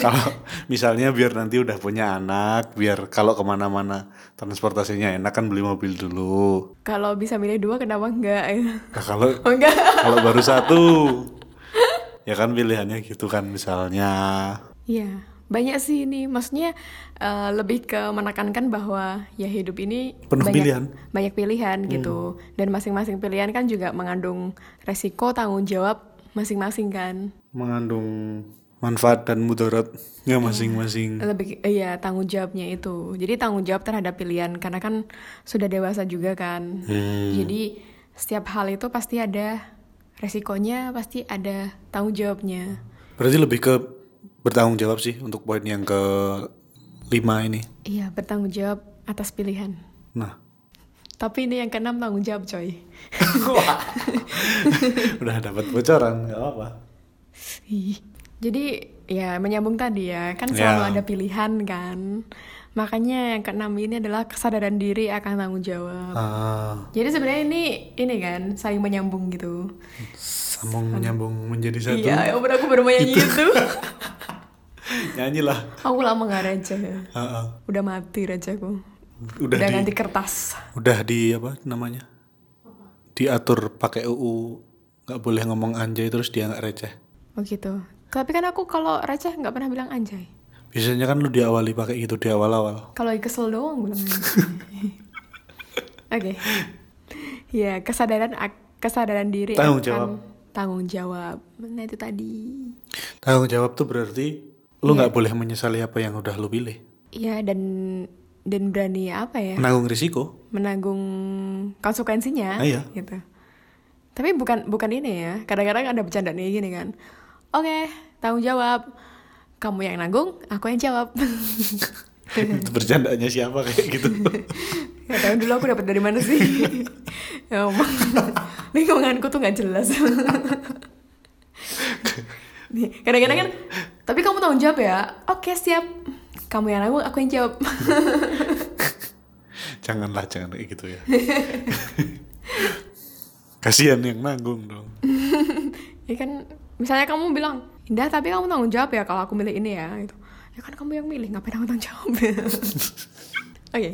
A: kalau misalnya biar nanti udah punya anak, biar kalau kemana-mana transportasinya enak kan beli mobil dulu.
B: kalau bisa milih dua kenapa enggak
A: Nah, kalau
B: oh, enggak
A: kalau baru satu ya kan pilihannya gitu kan misalnya
B: Iya, banyak sih ini. Maksudnya eh, lebih ke menekankan bahwa ya hidup ini
A: Penuh
B: banyak,
A: pilihan. Hmm.
B: banyak pilihan gitu. Dan masing-masing pilihan kan juga mengandung resiko, tanggung jawab masing-masing kan.
A: mengandung manfaat dan mudaratnya masing-masing
B: Lebih eh, iya tanggung jawabnya itu. Jadi tanggung jawab terhadap pilihan karena kan sudah dewasa juga kan.
A: Hmm.
B: Jadi setiap hal itu pasti ada resikonya, pasti ada tanggung jawabnya.
A: berarti lebih ke bertanggung jawab sih untuk poin yang ke lima ini
B: Iya, bertanggung jawab atas pilihan.
A: nah
B: Tapi ini yang keenam tanggung jawab, coy.
A: udah dapat bocoran nggak apa
B: Ih. Jadi ya menyambung tadi ya, kan
A: Ya.
B: selalu ada pilihan kan. Makanya yang keenam ini adalah kesadaran diri akan tanggung jawab.
A: ah
B: Jadi sebenarnya ini ini kan saling menyambung gitu.
A: sambung menyambung menjadi satu
B: Iya, ya, udah aku baru mau nyanyi itu.
A: nyanyilah
B: aku lama nggak raja.
A: Ah, ah.
B: Udah mati rajaku.
A: udah
B: Udah,
A: di
B: ganti kertas.
A: udah di apa namanya diatur pakai UU nggak boleh ngomong anjay terus dia nggak receh
B: Oh gitu. Tapi kan aku kalau raja nggak pernah bilang anjay.
A: Biasanya kan lu diawali pakai gitu di awal-awal.
B: Kalau lagi kesel doang bilang. Oke. Ya, kesadaran ak- kesadaran diri
A: Tanggung
B: akan
A: jawab.
B: tanggung jawab. Nah itu tadi.
A: Tanggung jawab tuh berarti lu nggak
B: Iya.
A: boleh menyesali apa yang udah lu pilih.
B: Ya dan dan berani apa ya
A: Menanggung risiko.
B: menanggung
A: Ah,
B: konsekuensinya
A: iya.
B: gitu. Tapi bukan bukan ini ya. Kadang-kadang ada bercandaan kayak gini kan. Oke, tanggung jawab. Kamu yang nanggung, aku yang jawab. Iya.
A: itu bercandanya siapa kayak gitu.
B: Gak tahu dulu aku dapat dari mana sih. ya omong. Lingkunganku tuh nggak jelas. Nih, kadang-kadang kan, tapi kamu tanggung jawab ya. Oke, siap. Kamu yang nanggung, aku yang jawab.
A: Janganlah jangan kayak gitu ya. Kasihan yang nanggung dong.
B: ya kan, misalnya kamu bilang, Indah, tapi kamu tanggung jawab ya kalau aku milih ini ya. Gitu. Ya kan kamu yang milih, ngapain aku tanggung jawab. Oke.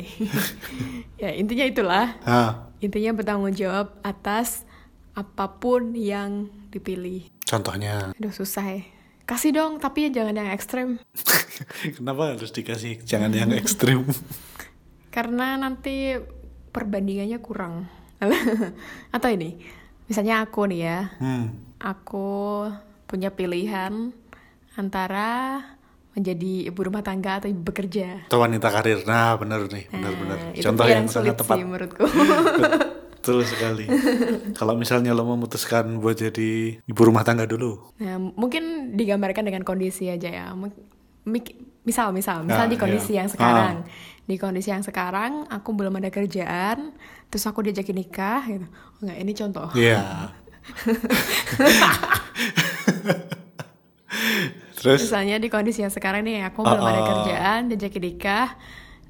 B: ya, intinya itulah.
A: Ah,
B: Intinya bertanggung jawab atas apapun yang dipilih.
A: contohnya
B: Aduh susah ya. Kasih dong, tapi jangan yang ekstrem.
A: kenapa harus dikasih jangan yang
B: Hmm.
A: ekstrim?
B: Karena nanti perbandingannya kurang. Atau ini, misalnya aku nih ya.
A: Hmm.
B: Aku punya pilihan antara menjadi ibu rumah tangga atau ibu bekerja.
A: Atau wanita karir. Nah, bener nih, benar-benar.
B: Nah, itu
A: Contoh
B: pilihan
A: yang sangat
B: sulit
A: tepat.
B: sih menurutku.
A: Betul sekali. Kalau misalnya lo memutuskan buat jadi ibu rumah tangga dulu.
B: Nah, mungkin digambarkan dengan kondisi aja ya. Mung- mik- Misal, misal,
A: Ah,
B: misal di kondisi
A: iya.
B: yang sekarang, di kondisi yang sekarang aku belum ada kerjaan, terus aku diajakin nikah, gitu. Enggak, ini contoh.
A: Iya. Terus
B: Misalnya di kondisi yang sekarang nih, aku
A: Ah,
B: belum ada
A: ah.
B: kerjaan, diajakin nikah,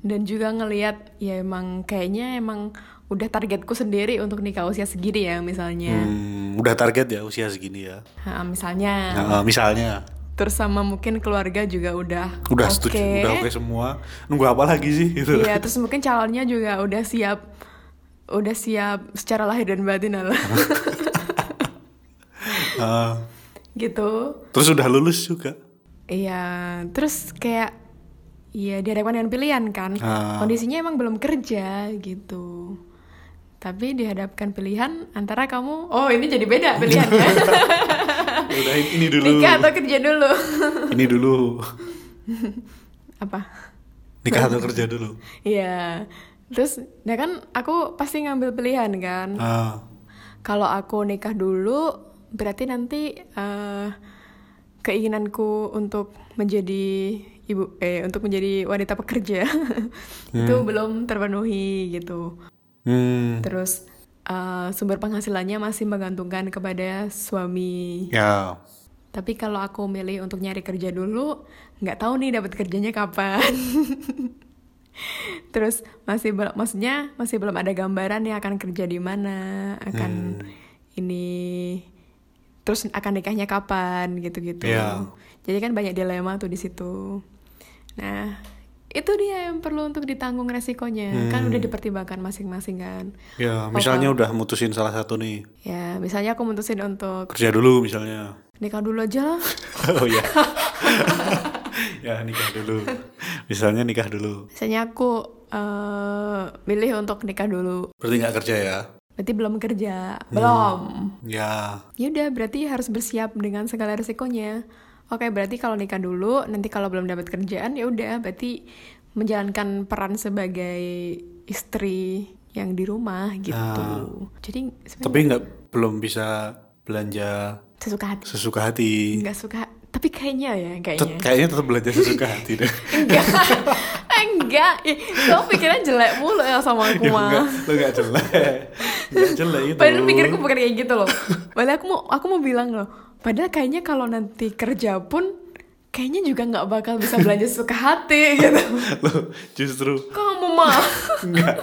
B: dan juga ngelihat ya emang kayaknya emang udah targetku sendiri untuk nikah usia segini ya misalnya,
A: hmm, udah target ya usia segini ya.
B: Ah, misalnya.
A: Nah, eh, misalnya
B: Terus sama mungkin keluarga juga udah
A: udah
B: oke.
A: setuju, udah oke semua. Nunggu apa lagi sih gitu.
B: Iya, terus mungkin calonnya juga udah siap udah siap secara lahir dan batin lah.
A: Eh,
B: gitu.
A: terus udah lulus juga.
B: Iya, diterus kayak iya dihadapkan dengan pilihan kan.
A: Ah.
B: Kondisinya emang belum kerja gitu. Tapi dihadapkan pilihan antara kamu, oh ini jadi beda pilihannya.
A: Udah ini dulu.
B: Nikah atau kerja dulu.
A: Ini dulu.
B: Apa?
A: Nikah atau kerja dulu.
B: Iya. Terus ya kan aku pasti ngambil pilihan kan.
A: Ah,
B: Kalau aku nikah dulu, berarti nanti eh, keinginanku untuk menjadi ibu eh untuk menjadi wanita pekerja itu belum terpenuhi gitu.
A: hmm,
B: Terus eh, sumber penghasilannya masih menggantungkan kepada suami.
A: ya.
B: Tapi kalau aku milih untuk nyari kerja dulu, nggak tahu nih dapat kerjanya kapan. Terus masih belum, maksudnya masih belum ada gambaran nih akan kerja di mana, akan ini, terus akan nikahnya kapan gitu-gitu.
A: Iya.
B: Jadi kan banyak dilema tuh di situ. Nah, itu dia yang perlu untuk ditanggung resikonya. Kan udah dipertimbangkan masing-masing kan.
A: Ya, misalnya
B: Oh.
A: udah mutusin salah satu nih.
B: Ya, misalnya aku mutusin untuk
A: Kerja dulu misalnya.
B: nikah dulu aja lah.
A: Oh ya. ya nikah dulu. Misalnya nikah dulu.
B: Misalnya aku eh milih untuk nikah dulu.
A: Berarti nggak kerja ya?
B: Berarti belum kerja.
A: Iya.
B: Belum.
A: Ya.
B: Ya udah, berarti harus bersiap dengan segala resikonya. Oke, berarti kalau nikah dulu, nanti kalau belum dapat kerjaan ya udah, berarti menjalankan peran sebagai istri yang di rumah gitu. Jadi sebenarnya
A: Ah. Tapi nggak belum bisa belanja
B: sesuka hati.
A: sesuka hati.
B: Nggak suka, tapi kayaknya ya,
A: Tet-
B: kayaknya.
A: kayaknya tetap belanja sesuka hati deh.
B: Enggak. enggak. Ih, Kamu pikiran jelek mulu ya sama aku
A: ya
B: mah.
A: enggak, lo nggak jelek. Nggak jelek itu.
B: Padahal pikirku bukan kayak gitu loh. Padahal aku mau aku mau bilang loh. Padahal kayaknya kalau nanti kerja pun kayaknya juga nggak bakal bisa belanja suka hati gitu.
A: Lo justru
B: Kamu mah.
A: enggak.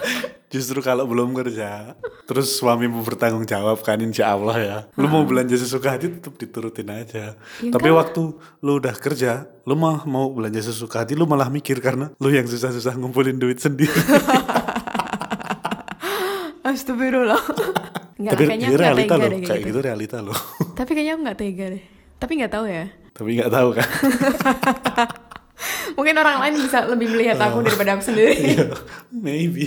A: Justru kalau belum kerja, terus suamimu bertanggung jawab kan insya Allah ya. Lu
B: Ah.
A: mau belanja sesuka hati tetap diturutin aja.
B: Iya
A: Tapi
B: kan?
A: waktu lu udah kerja, lu mah mau belanja sesuka hati, lu malah mikir karena lu yang susah-susah ngumpulin duit sendiri.
B: Astagfirullah. Enggak,
A: Tapi
B: kayaknya
A: ini
B: aku nggak
A: realita
B: tega
A: loh,
B: deh kayak
A: kayak
B: gitu.
A: gitu realita loh.
B: Tapi kayaknya aku nggak tega deh. Tapi nggak tahu ya.
A: Tapi nggak tahu kan.
B: Mungkin orang lain bisa lebih melihat
A: Oh.
B: aku daripada aku sendiri.
A: Iya, Maybe.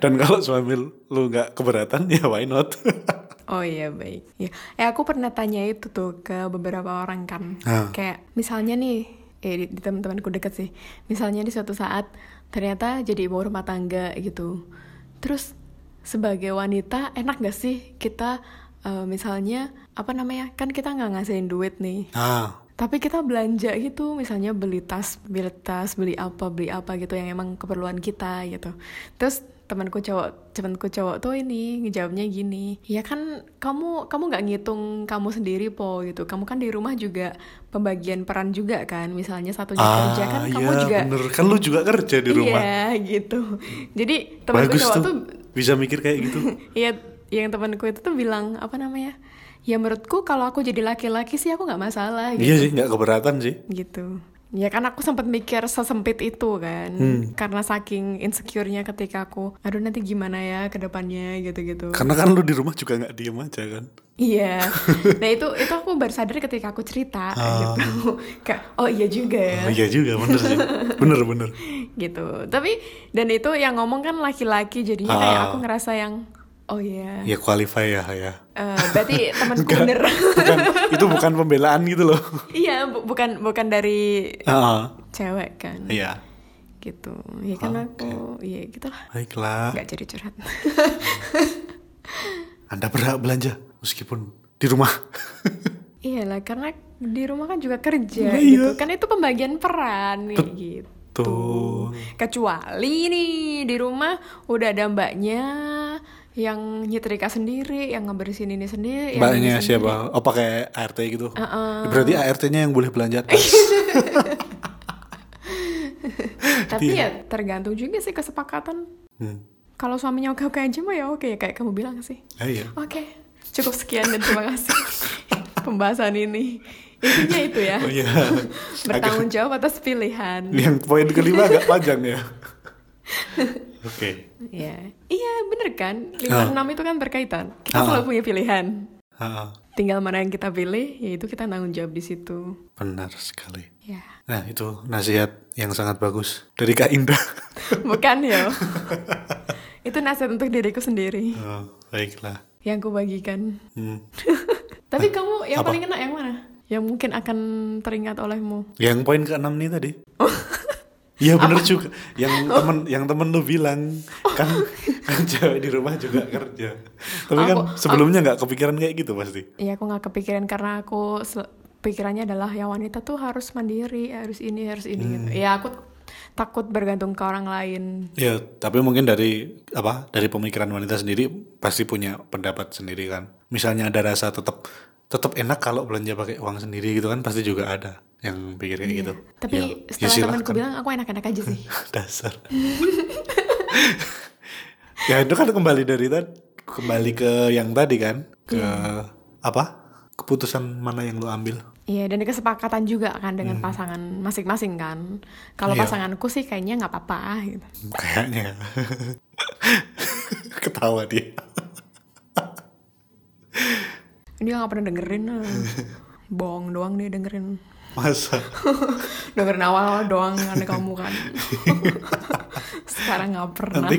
A: Dan kalau suami lu nggak keberatan, ya why not?
B: Oh iya baik. Ya, eh aku pernah tanya itu tuh ke beberapa orang kan.
A: Ah.
B: Kayak misalnya nih, eh di, di teman-temanku deket sih. Misalnya di suatu saat ternyata jadi ibu rumah tangga gitu. Terus sebagai wanita enak gak sih kita eh, misalnya apa namanya kan kita nggak ngasihin duit nih.
A: Ah,
B: Tapi kita belanja gitu, misalnya beli tas, beli tas, beli apa, beli apa gitu yang emang keperluan kita gitu. Terus temanku cowok, temanku cowok tuh ini ngejawabnya gini, ya kan kamu kamu nggak ngitung kamu sendiri po gitu, kamu kan di rumah juga pembagian peran juga kan, misalnya satunya
A: ah,
B: kerja kan kamu
A: iya,
B: juga
A: bener. Kan lu juga kerja di rumah.
B: iya gitu. Jadi temanku
A: Bagus
B: cowok
A: tuh.
B: tuh
A: Bisa mikir kayak gitu.
B: Iya, yang temanku itu tuh bilang apa namanya? Ya menurutku kalau aku jadi laki-laki sih aku nggak masalah gitu
A: iya sih, nggak keberatan sih.
B: gitu ya kan aku sempat mikir sesempit itu kan
A: Hmm.
B: karena saking insecure-nya ketika aku aduh nanti gimana ya ke depannya gitu-gitu
A: Karena kan lu di rumah juga nggak diem aja kan.
B: iya nah itu itu aku baru sadar ketika aku cerita gitu kayak oh iya juga
A: Ah. Oh,
B: ya
A: iya juga, bener sih. Bener, bener.
B: gitu tapi dan itu yang ngomong kan laki-laki jadinya
A: Ah.
B: kayak aku ngerasa yang oh iya
A: Ya qualify ya, ya.
B: Eh, berarti temanku
A: Enggak,
B: bener
A: bukan, itu bukan pembelaan gitu loh.
B: iya bu- bukan bukan dari
A: Ah,
B: cewek kan
A: Iya. Ah,
B: gitu ya kan aku ya gitulah
A: Baiklah.
B: nggak jadi curhat
A: Anda berhak belanja meskipun di rumah.
B: Iya lah, karena di rumah kan juga kerja
A: Iya.
B: gitu. Kan itu pembagian peran ya gitu.
A: Betul.
B: Kecuali nih di rumah udah ada mbaknya yang nyetrika sendiri, yang ngebersihin ini sendiri, yang
A: Mbaknya
B: ini sendiri.
A: siapa? Oh pakai ART gitu. Berarti ART-nya yang boleh belanja tas. Iya.
B: Tapi ya tergantung juga sih kesepakatan.
A: Hmm.
B: Kalau suaminya oke-oke aja mah ya oke ya kayak kamu bilang sih.
A: Ah, iya.
B: Oke, cukup sekian dan terima kasih pembahasan ini. Intinya itu ya.
A: Oh iya. Agak- Iya.
B: Bertanggung jawab atas pilihan.
A: yang poin kelima agak panjang ya. Oke.
B: Iya, iya bener kan? 5 6 itu kan berkaitan. Kita
A: Ah.
B: selalu punya pilihan.
A: Ah,
B: Tinggal mana yang kita pilih, yaitu kita tanggung jawab di situ.
A: benar sekali.
B: Ya,
A: Nah, itu nasihat yang sangat bagus dari Kak Indah.
B: bukan ya. itu nasihat untuk diriku sendiri
A: Oh, baiklah.
B: yang kubagikan.
A: Hmm.
B: Tapi kamu
A: Ah,
B: yang
A: apa?
B: paling enak yang mana? Yang mungkin akan teringat olehmu.
A: Yang poin ke-6 nih tadi. Iya bener juga. Yang
B: Oh.
A: temen yang temen lu bilang kan kan cewek di rumah juga kerja. Tapi kan
B: Aku-
A: sebelumnya nggak kepikiran kayak gitu pasti.
B: Iya, aku nggak kepikiran karena aku sel- pikirannya adalah ya wanita tuh harus mandiri, harus ini, harus ini gitu.
A: Hmm.
B: Ya aku takut bergantung ke orang lain
A: Ya, tapi mungkin dari apa? Dari pemikiran wanita sendiri pasti punya pendapat sendiri kan. Misalnya ada rasa tetap tetap enak kalau belanja pakai uang sendiri gitu kan pasti juga ada yang pikir kayak gitu.
B: Iya. Tapi
A: Ya, ya
B: setelah temanku
A: silahkan.
B: bilang aku enak-enak aja sih.
A: dasar ya itu kan kembali dari tadi kembali ke yang tadi kan ke apa keputusan mana yang lu ambil
B: Iya dan kesepakatan juga kan dengan pasangan masing-masing kan. Kalau
A: Iya.
B: pasanganku sih kayaknya nggak apa-apa gitu.
A: Hmm, kayaknya ketawa dia
B: Dia nggak pernah dengerin. eh. Bohong doang dia dengerin.
A: masa
B: Dengerin awal doang karena kamu kan. Sekarang nggak pernah.
A: nanti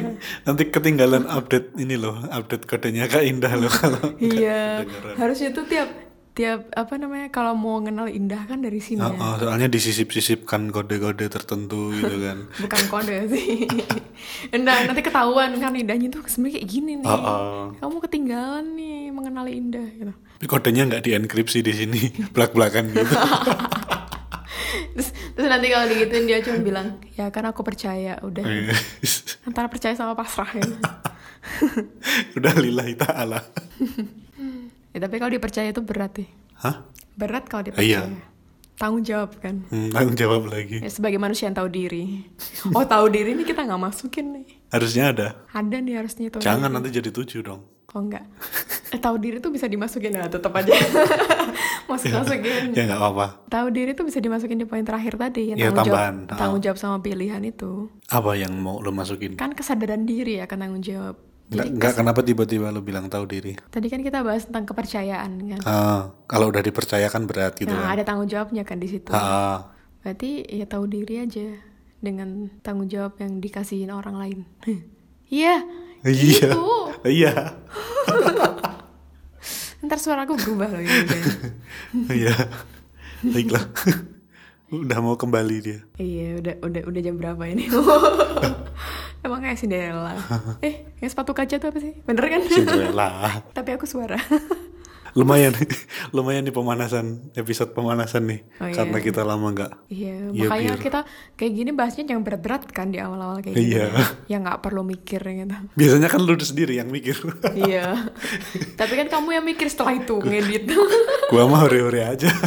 A: nanti ketinggalan update ini loh update kodenya kak Indah loh kalau nggak
B: Iya.
A: kedengeran.
B: Harusnya tuh tiap tiap apa namanya kalau mau kenal indah kan dari sini
A: Oh,
B: ya.
A: oh, soalnya disisip-sisipkan kode-kode tertentu gitu kan
B: Bukan kode sih. Enggak, nanti ketahuan kan indahnya tuh sebenarnya kayak gini nih.
A: Oh, oh.
B: Kamu ketinggalan nih mengenali indah gitu.
A: Tapi kodenya nggak dienkripsi di sini
B: Iya.
A: belak-belakan gitu
B: Terus, terus nanti kalau digituin dia cuma bilang, "Ya kan aku percaya,
A: Iya.
B: udah." Antara percaya sama pasrah gitu.
A: udah lillahi ta'ala
B: ya, tapi kalau dipercaya itu berat sih.
A: Hah? Iya.
B: Berat kalau dipercaya. Tanggung jawab kan.
A: Hmm, tanggung jawab lagi.
B: Ya, sebagai manusia yang tahu diri. Oh, tahu diri ini kita nggak masukin nih.
A: Harusnya ada.
B: Ada nih harusnya itu.
A: Jangan nanti jadi tujuh dong.
B: Oh enggak. Eh, tahu diri tuh bisa dimasukin nah tetap aja. Masuk-masukin.
A: Ya nggak apa-apa.
B: Tahu diri tuh bisa dimasukin di poin terakhir tadi yang
A: Ya,
B: tanggung
A: tambahan.
B: jawab, tanggung jawab sama pilihan itu.
A: Apa yang mau lo masukin?
B: Kan kesadaran diri ya kan tanggung jawab.
A: Iya. Nggak, nggak, kenapa tiba-tiba lo bilang tahu diri?
B: Tadi kan kita bahas tentang kepercayaan kan.
A: Ah, kalau udah dipercayakan berat gitu
B: nah,
A: kan.
B: ada tanggung jawabnya kan di situ.
A: Ah,
B: Berarti ya tahu diri aja dengan tanggung jawab yang dikasihin orang lain. Iya.
A: iya.
B: Gitu.
A: Iya.
B: ntar suara aku berubah loh ini udah.
A: Iya. Baiklah. Udah mau kembali dia.
B: Iya, udah udah udah jam berapa ini? Emang kayak Cinderella. Eh, yang sepatu kaca tuh apa sih? Bener kan?
A: Iya. Cinderella.
B: Tapi aku suara.
A: Lumayan, lumayan nih pemanasan episode pemanasan nih
B: Oh, iya.
A: karena kita lama nggak.
B: Iya,
A: Iya,
B: makanya
A: biar-
B: kita kayak gini bahasnya jangan berat-berat kan di awal-awal kayak gini.
A: Iya.
B: Ya nggak perlu mikir gitu.
A: Biasanya kan lu sendiri yang mikir.
B: Iya. Tapi kan kamu yang mikir setelah itu ngedit.
A: Gua mah hore-hore aja.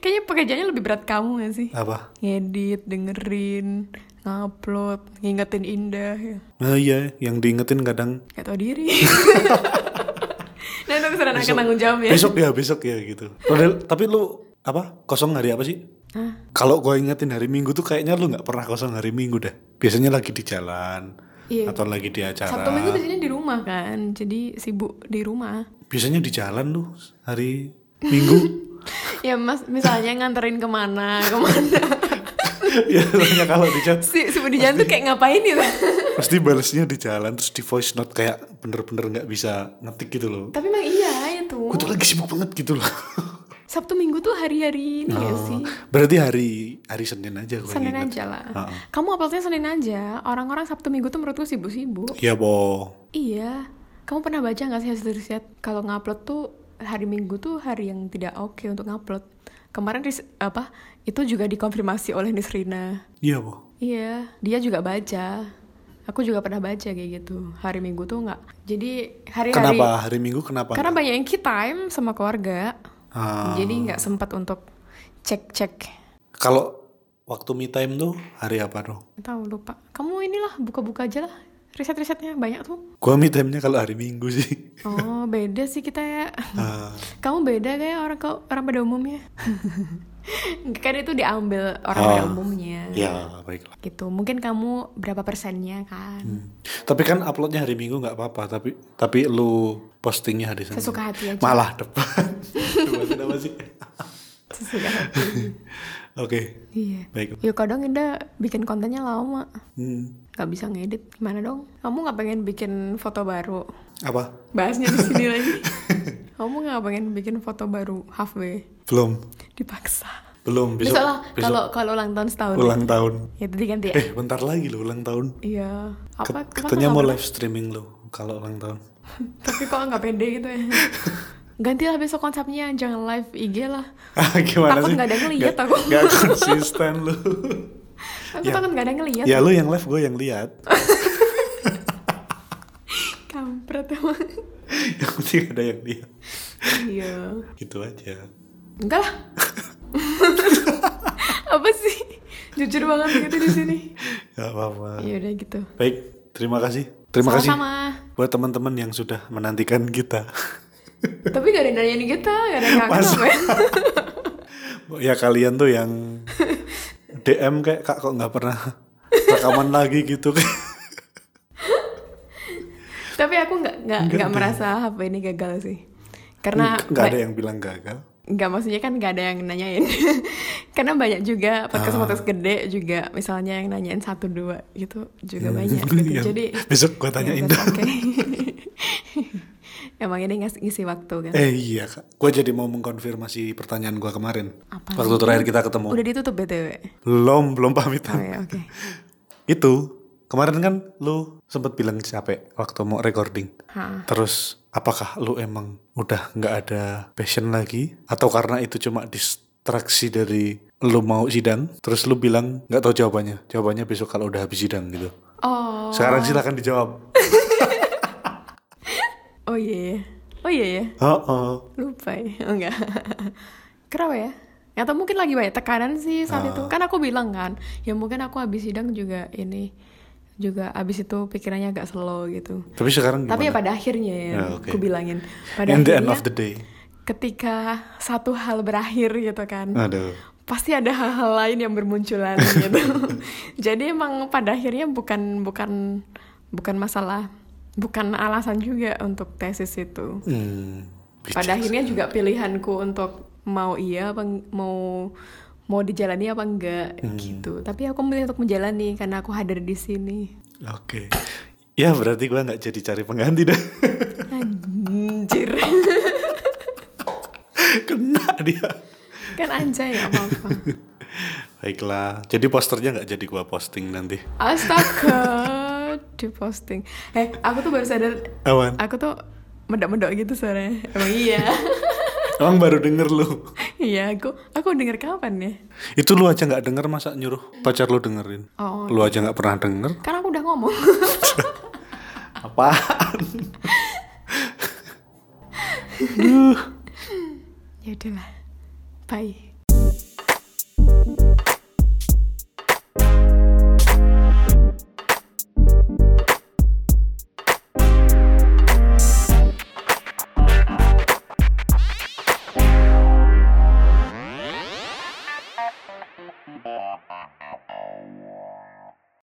B: Kayaknya pekerjaannya lebih berat kamu gak sih?
A: Apa?
B: Ngedit, dengerin, ngupload, ngingetin Indah. Ya.
A: Nah, iya, yang diingetin kadang
B: Gak tau diri. nah, itu kesalahan akan tanggung jawab ya.
A: besok ya besok ya gitu. Padahal- tapi lu apa? Kosong hari apa sih?
B: Hah?
A: Kalau gua ingetin hari Minggu tuh kayaknya lu nggak pernah kosong hari Minggu dah. Biasanya lagi di jalan
B: Iya.
A: atau lagi di acara.
B: Sabtu Minggu biasanya di rumah kan, jadi sibuk di rumah.
A: Biasanya di jalan lu hari Minggu.
B: Ya mas, misalnya nganterin kemana, kemana.
A: ya, soalnya kalau di jalan
B: si, sibuk di jalan tuh kayak ngapain gitu.
A: pasti balesnya di jalan terus di voice note kayak bener-bener nggak bisa ngetik gitu loh.
B: Tapi emang iya itu.
A: Gue tuh lagi sibuk banget gitu loh.
B: Sabtu Minggu tuh hari-hari ini
A: Oh.
B: ya sih.
A: Berarti hari hari Senin aja gue
B: Senin
A: inget.
B: aja lah.
A: Heeh.
B: Kamu uploadnya Senin aja. Orang-orang Sabtu Minggu tuh menurutku sibuk-sibuk.
A: Iya, Bo.
B: Iya. Kamu pernah baca nggak sih hasil riset kalau ngupload tuh hari Minggu tuh hari yang tidak oke untuk ngupload. Kemarin ris- apa itu juga dikonfirmasi oleh Nisrina.
A: Iya, Bo.
B: Iya, dia juga baca. Aku juga pernah baca kayak gitu. Hari Minggu tuh nggak. Jadi hari-hari
A: Kenapa hari Minggu kenapa?
B: karena banyak yang key time sama keluarga.
A: Ah.
B: Jadi nggak sempat untuk cek-cek.
A: Kalau waktu me time tuh hari apa tuh?
B: Nggak Tahu lupa. Kamu inilah buka-buka aja lah. Riset-risetnya banyak tuh.
A: Gua me time-nya kalau hari Minggu sih.
B: Oh, beda sih kita ya.
A: Ah.
B: Kamu beda kayak orang kau orang pada umumnya. kan itu diambil orang pada
A: Ah,
B: umumnya.
A: ya, baiklah.
B: Gitu. Mungkin kamu berapa persennya kan?
A: Hmm. Tapi kan uploadnya hari Minggu nggak apa-apa, tapi tapi lu postingnya hari Senin.
B: Sesuka hati aja.
A: Malah depan. Depan kenapa sih?
B: Sesuka hati.
A: Oke,
B: iya.
A: baik.
B: Ya Iya. kadang Indah bikin kontennya lama.
A: Hmm.
B: Gak bisa ngedit. Gimana dong? Kamu gak pengen bikin foto baru?
A: Apa?
B: Bahasnya di sini lagi. Kamu gak pengen bikin foto baru halfway?
A: Belum.
B: Dipaksa.
A: Belum
B: Besok,
A: besok.
B: lah
A: besok
B: kalau kalau ulang tahun setahun.
A: ulang tahun.
B: Ya tadi ganti ya.
A: Eh, bentar lagi lo ulang tahun.
B: Iya. Apa?
A: Kat-
B: kenapa
A: Katanya
B: nggak
A: mau
B: ber-
A: live streaming lo kalau ulang tahun.
B: Tapi kok nggak pede gitu ya. Gantilah besok konsepnya, jangan live IG lah.
A: Ah, Gimana
B: Takut
A: sih?
B: nggak ada yang lihat
A: Nggak-
B: aku.
A: nggak konsisten lo.
B: Aku
A: Ya.
B: takut nggak ada yang ngeliat.
A: ya lo yang live gue yang lihat.
B: Kampret emang.
A: yang penting ada yang lihat.
B: iya.
A: Gitu aja.
B: Enggak lah. Apa sih? Jujur banget gitu di sini.
A: Gak apa-apa.
B: Ya udah gitu.
A: Baik, terima kasih. Nah. Terima kasih
B: Sama-sama.
A: buat teman-teman yang sudah menantikan kita.
B: Tapi gak ada yang nanyain kita, gak ada yang kangen
A: Masa?
B: apa ya.
A: ya kalian tuh yang DM kayak kak kok nggak pernah rekaman lagi gitu.
B: Tapi aku nggak nggak nggak merasa apa ini gagal sih. Karena
A: nggak ada yang bilang gagal.
B: nggak maksudnya kan nggak ada yang nanyain karena banyak juga podcast
A: Ah.
B: podcast gede juga misalnya yang nanyain satu dua gitu juga banyak gitu.
A: Yang
B: jadi
A: besok gua Iya, tanya
B: ya,
A: Indah.
B: oke. emang ini ngas- ngisi waktu kan
A: Eh iya kak, gue jadi mau mengkonfirmasi pertanyaan gua kemarin.
B: Apa
A: Waktu terakhir kita ketemu.
B: udah ditutup btw
A: Belum, belum
B: oh
A: pamitan.
B: ya oke
A: Itu kemarin kan lu sempet bilang capek waktu mau recording.
B: Hah.
A: Terus apakah lu emang udah nggak ada passion lagi atau karena itu cuma distraksi dari lu mau sidang? Terus lu bilang nggak tahu jawabannya. Jawabannya besok kalau udah habis sidang gitu.
B: oh
A: Sekarang silakan dijawab.
B: oh iya ya. oh iya ya
A: Oh, oh.
B: lupa ya Oh, enggak kenapa ya atau mungkin lagi banyak tekanan sih saat
A: Ah.
B: itu kan aku bilang kan ya mungkin aku habis sidang juga ini juga abis itu pikirannya agak slow gitu
A: Tapi sekarang
B: Tapi ya
A: gimana?
B: pada akhirnya ya,
A: Ya, oke.
B: aku bilangin. Pada
A: In the
B: akhirnya,
A: end of the Ah. day.
B: ketika satu hal berakhir gitu kan,
A: Aduh.
B: pasti ada hal-hal lain yang bermunculan gitu. Jadi emang pada akhirnya bukan bukan bukan masalah, bukan alasan juga untuk tesis itu.
A: Hmm.
B: Pada akhirnya juga pilihanku untuk mau iya apa eng- mau mau dijalani apa enggak
A: Hmm.
B: gitu. Tapi aku memilih untuk menjalani karena aku hadir di sini.
A: Oke. Ya berarti gua nggak jadi cari pengganti dah.
B: Anjir.
A: kena dia
B: kan anjay ya apa-apa
A: baiklah jadi posternya nggak jadi gua posting nanti
B: astaga di posting eh aku tuh baru sadar
A: awan
B: aku tuh mendok-mendok gitu suaranya emang iya
A: emang baru denger lu
B: iya aku aku denger kapan ya
A: itu lu aja nggak denger masa nyuruh pacar lu dengerin
B: Oh.
A: lu aja nggak pernah denger
B: kan aku udah ngomong
A: apaan
B: ya udahlah bye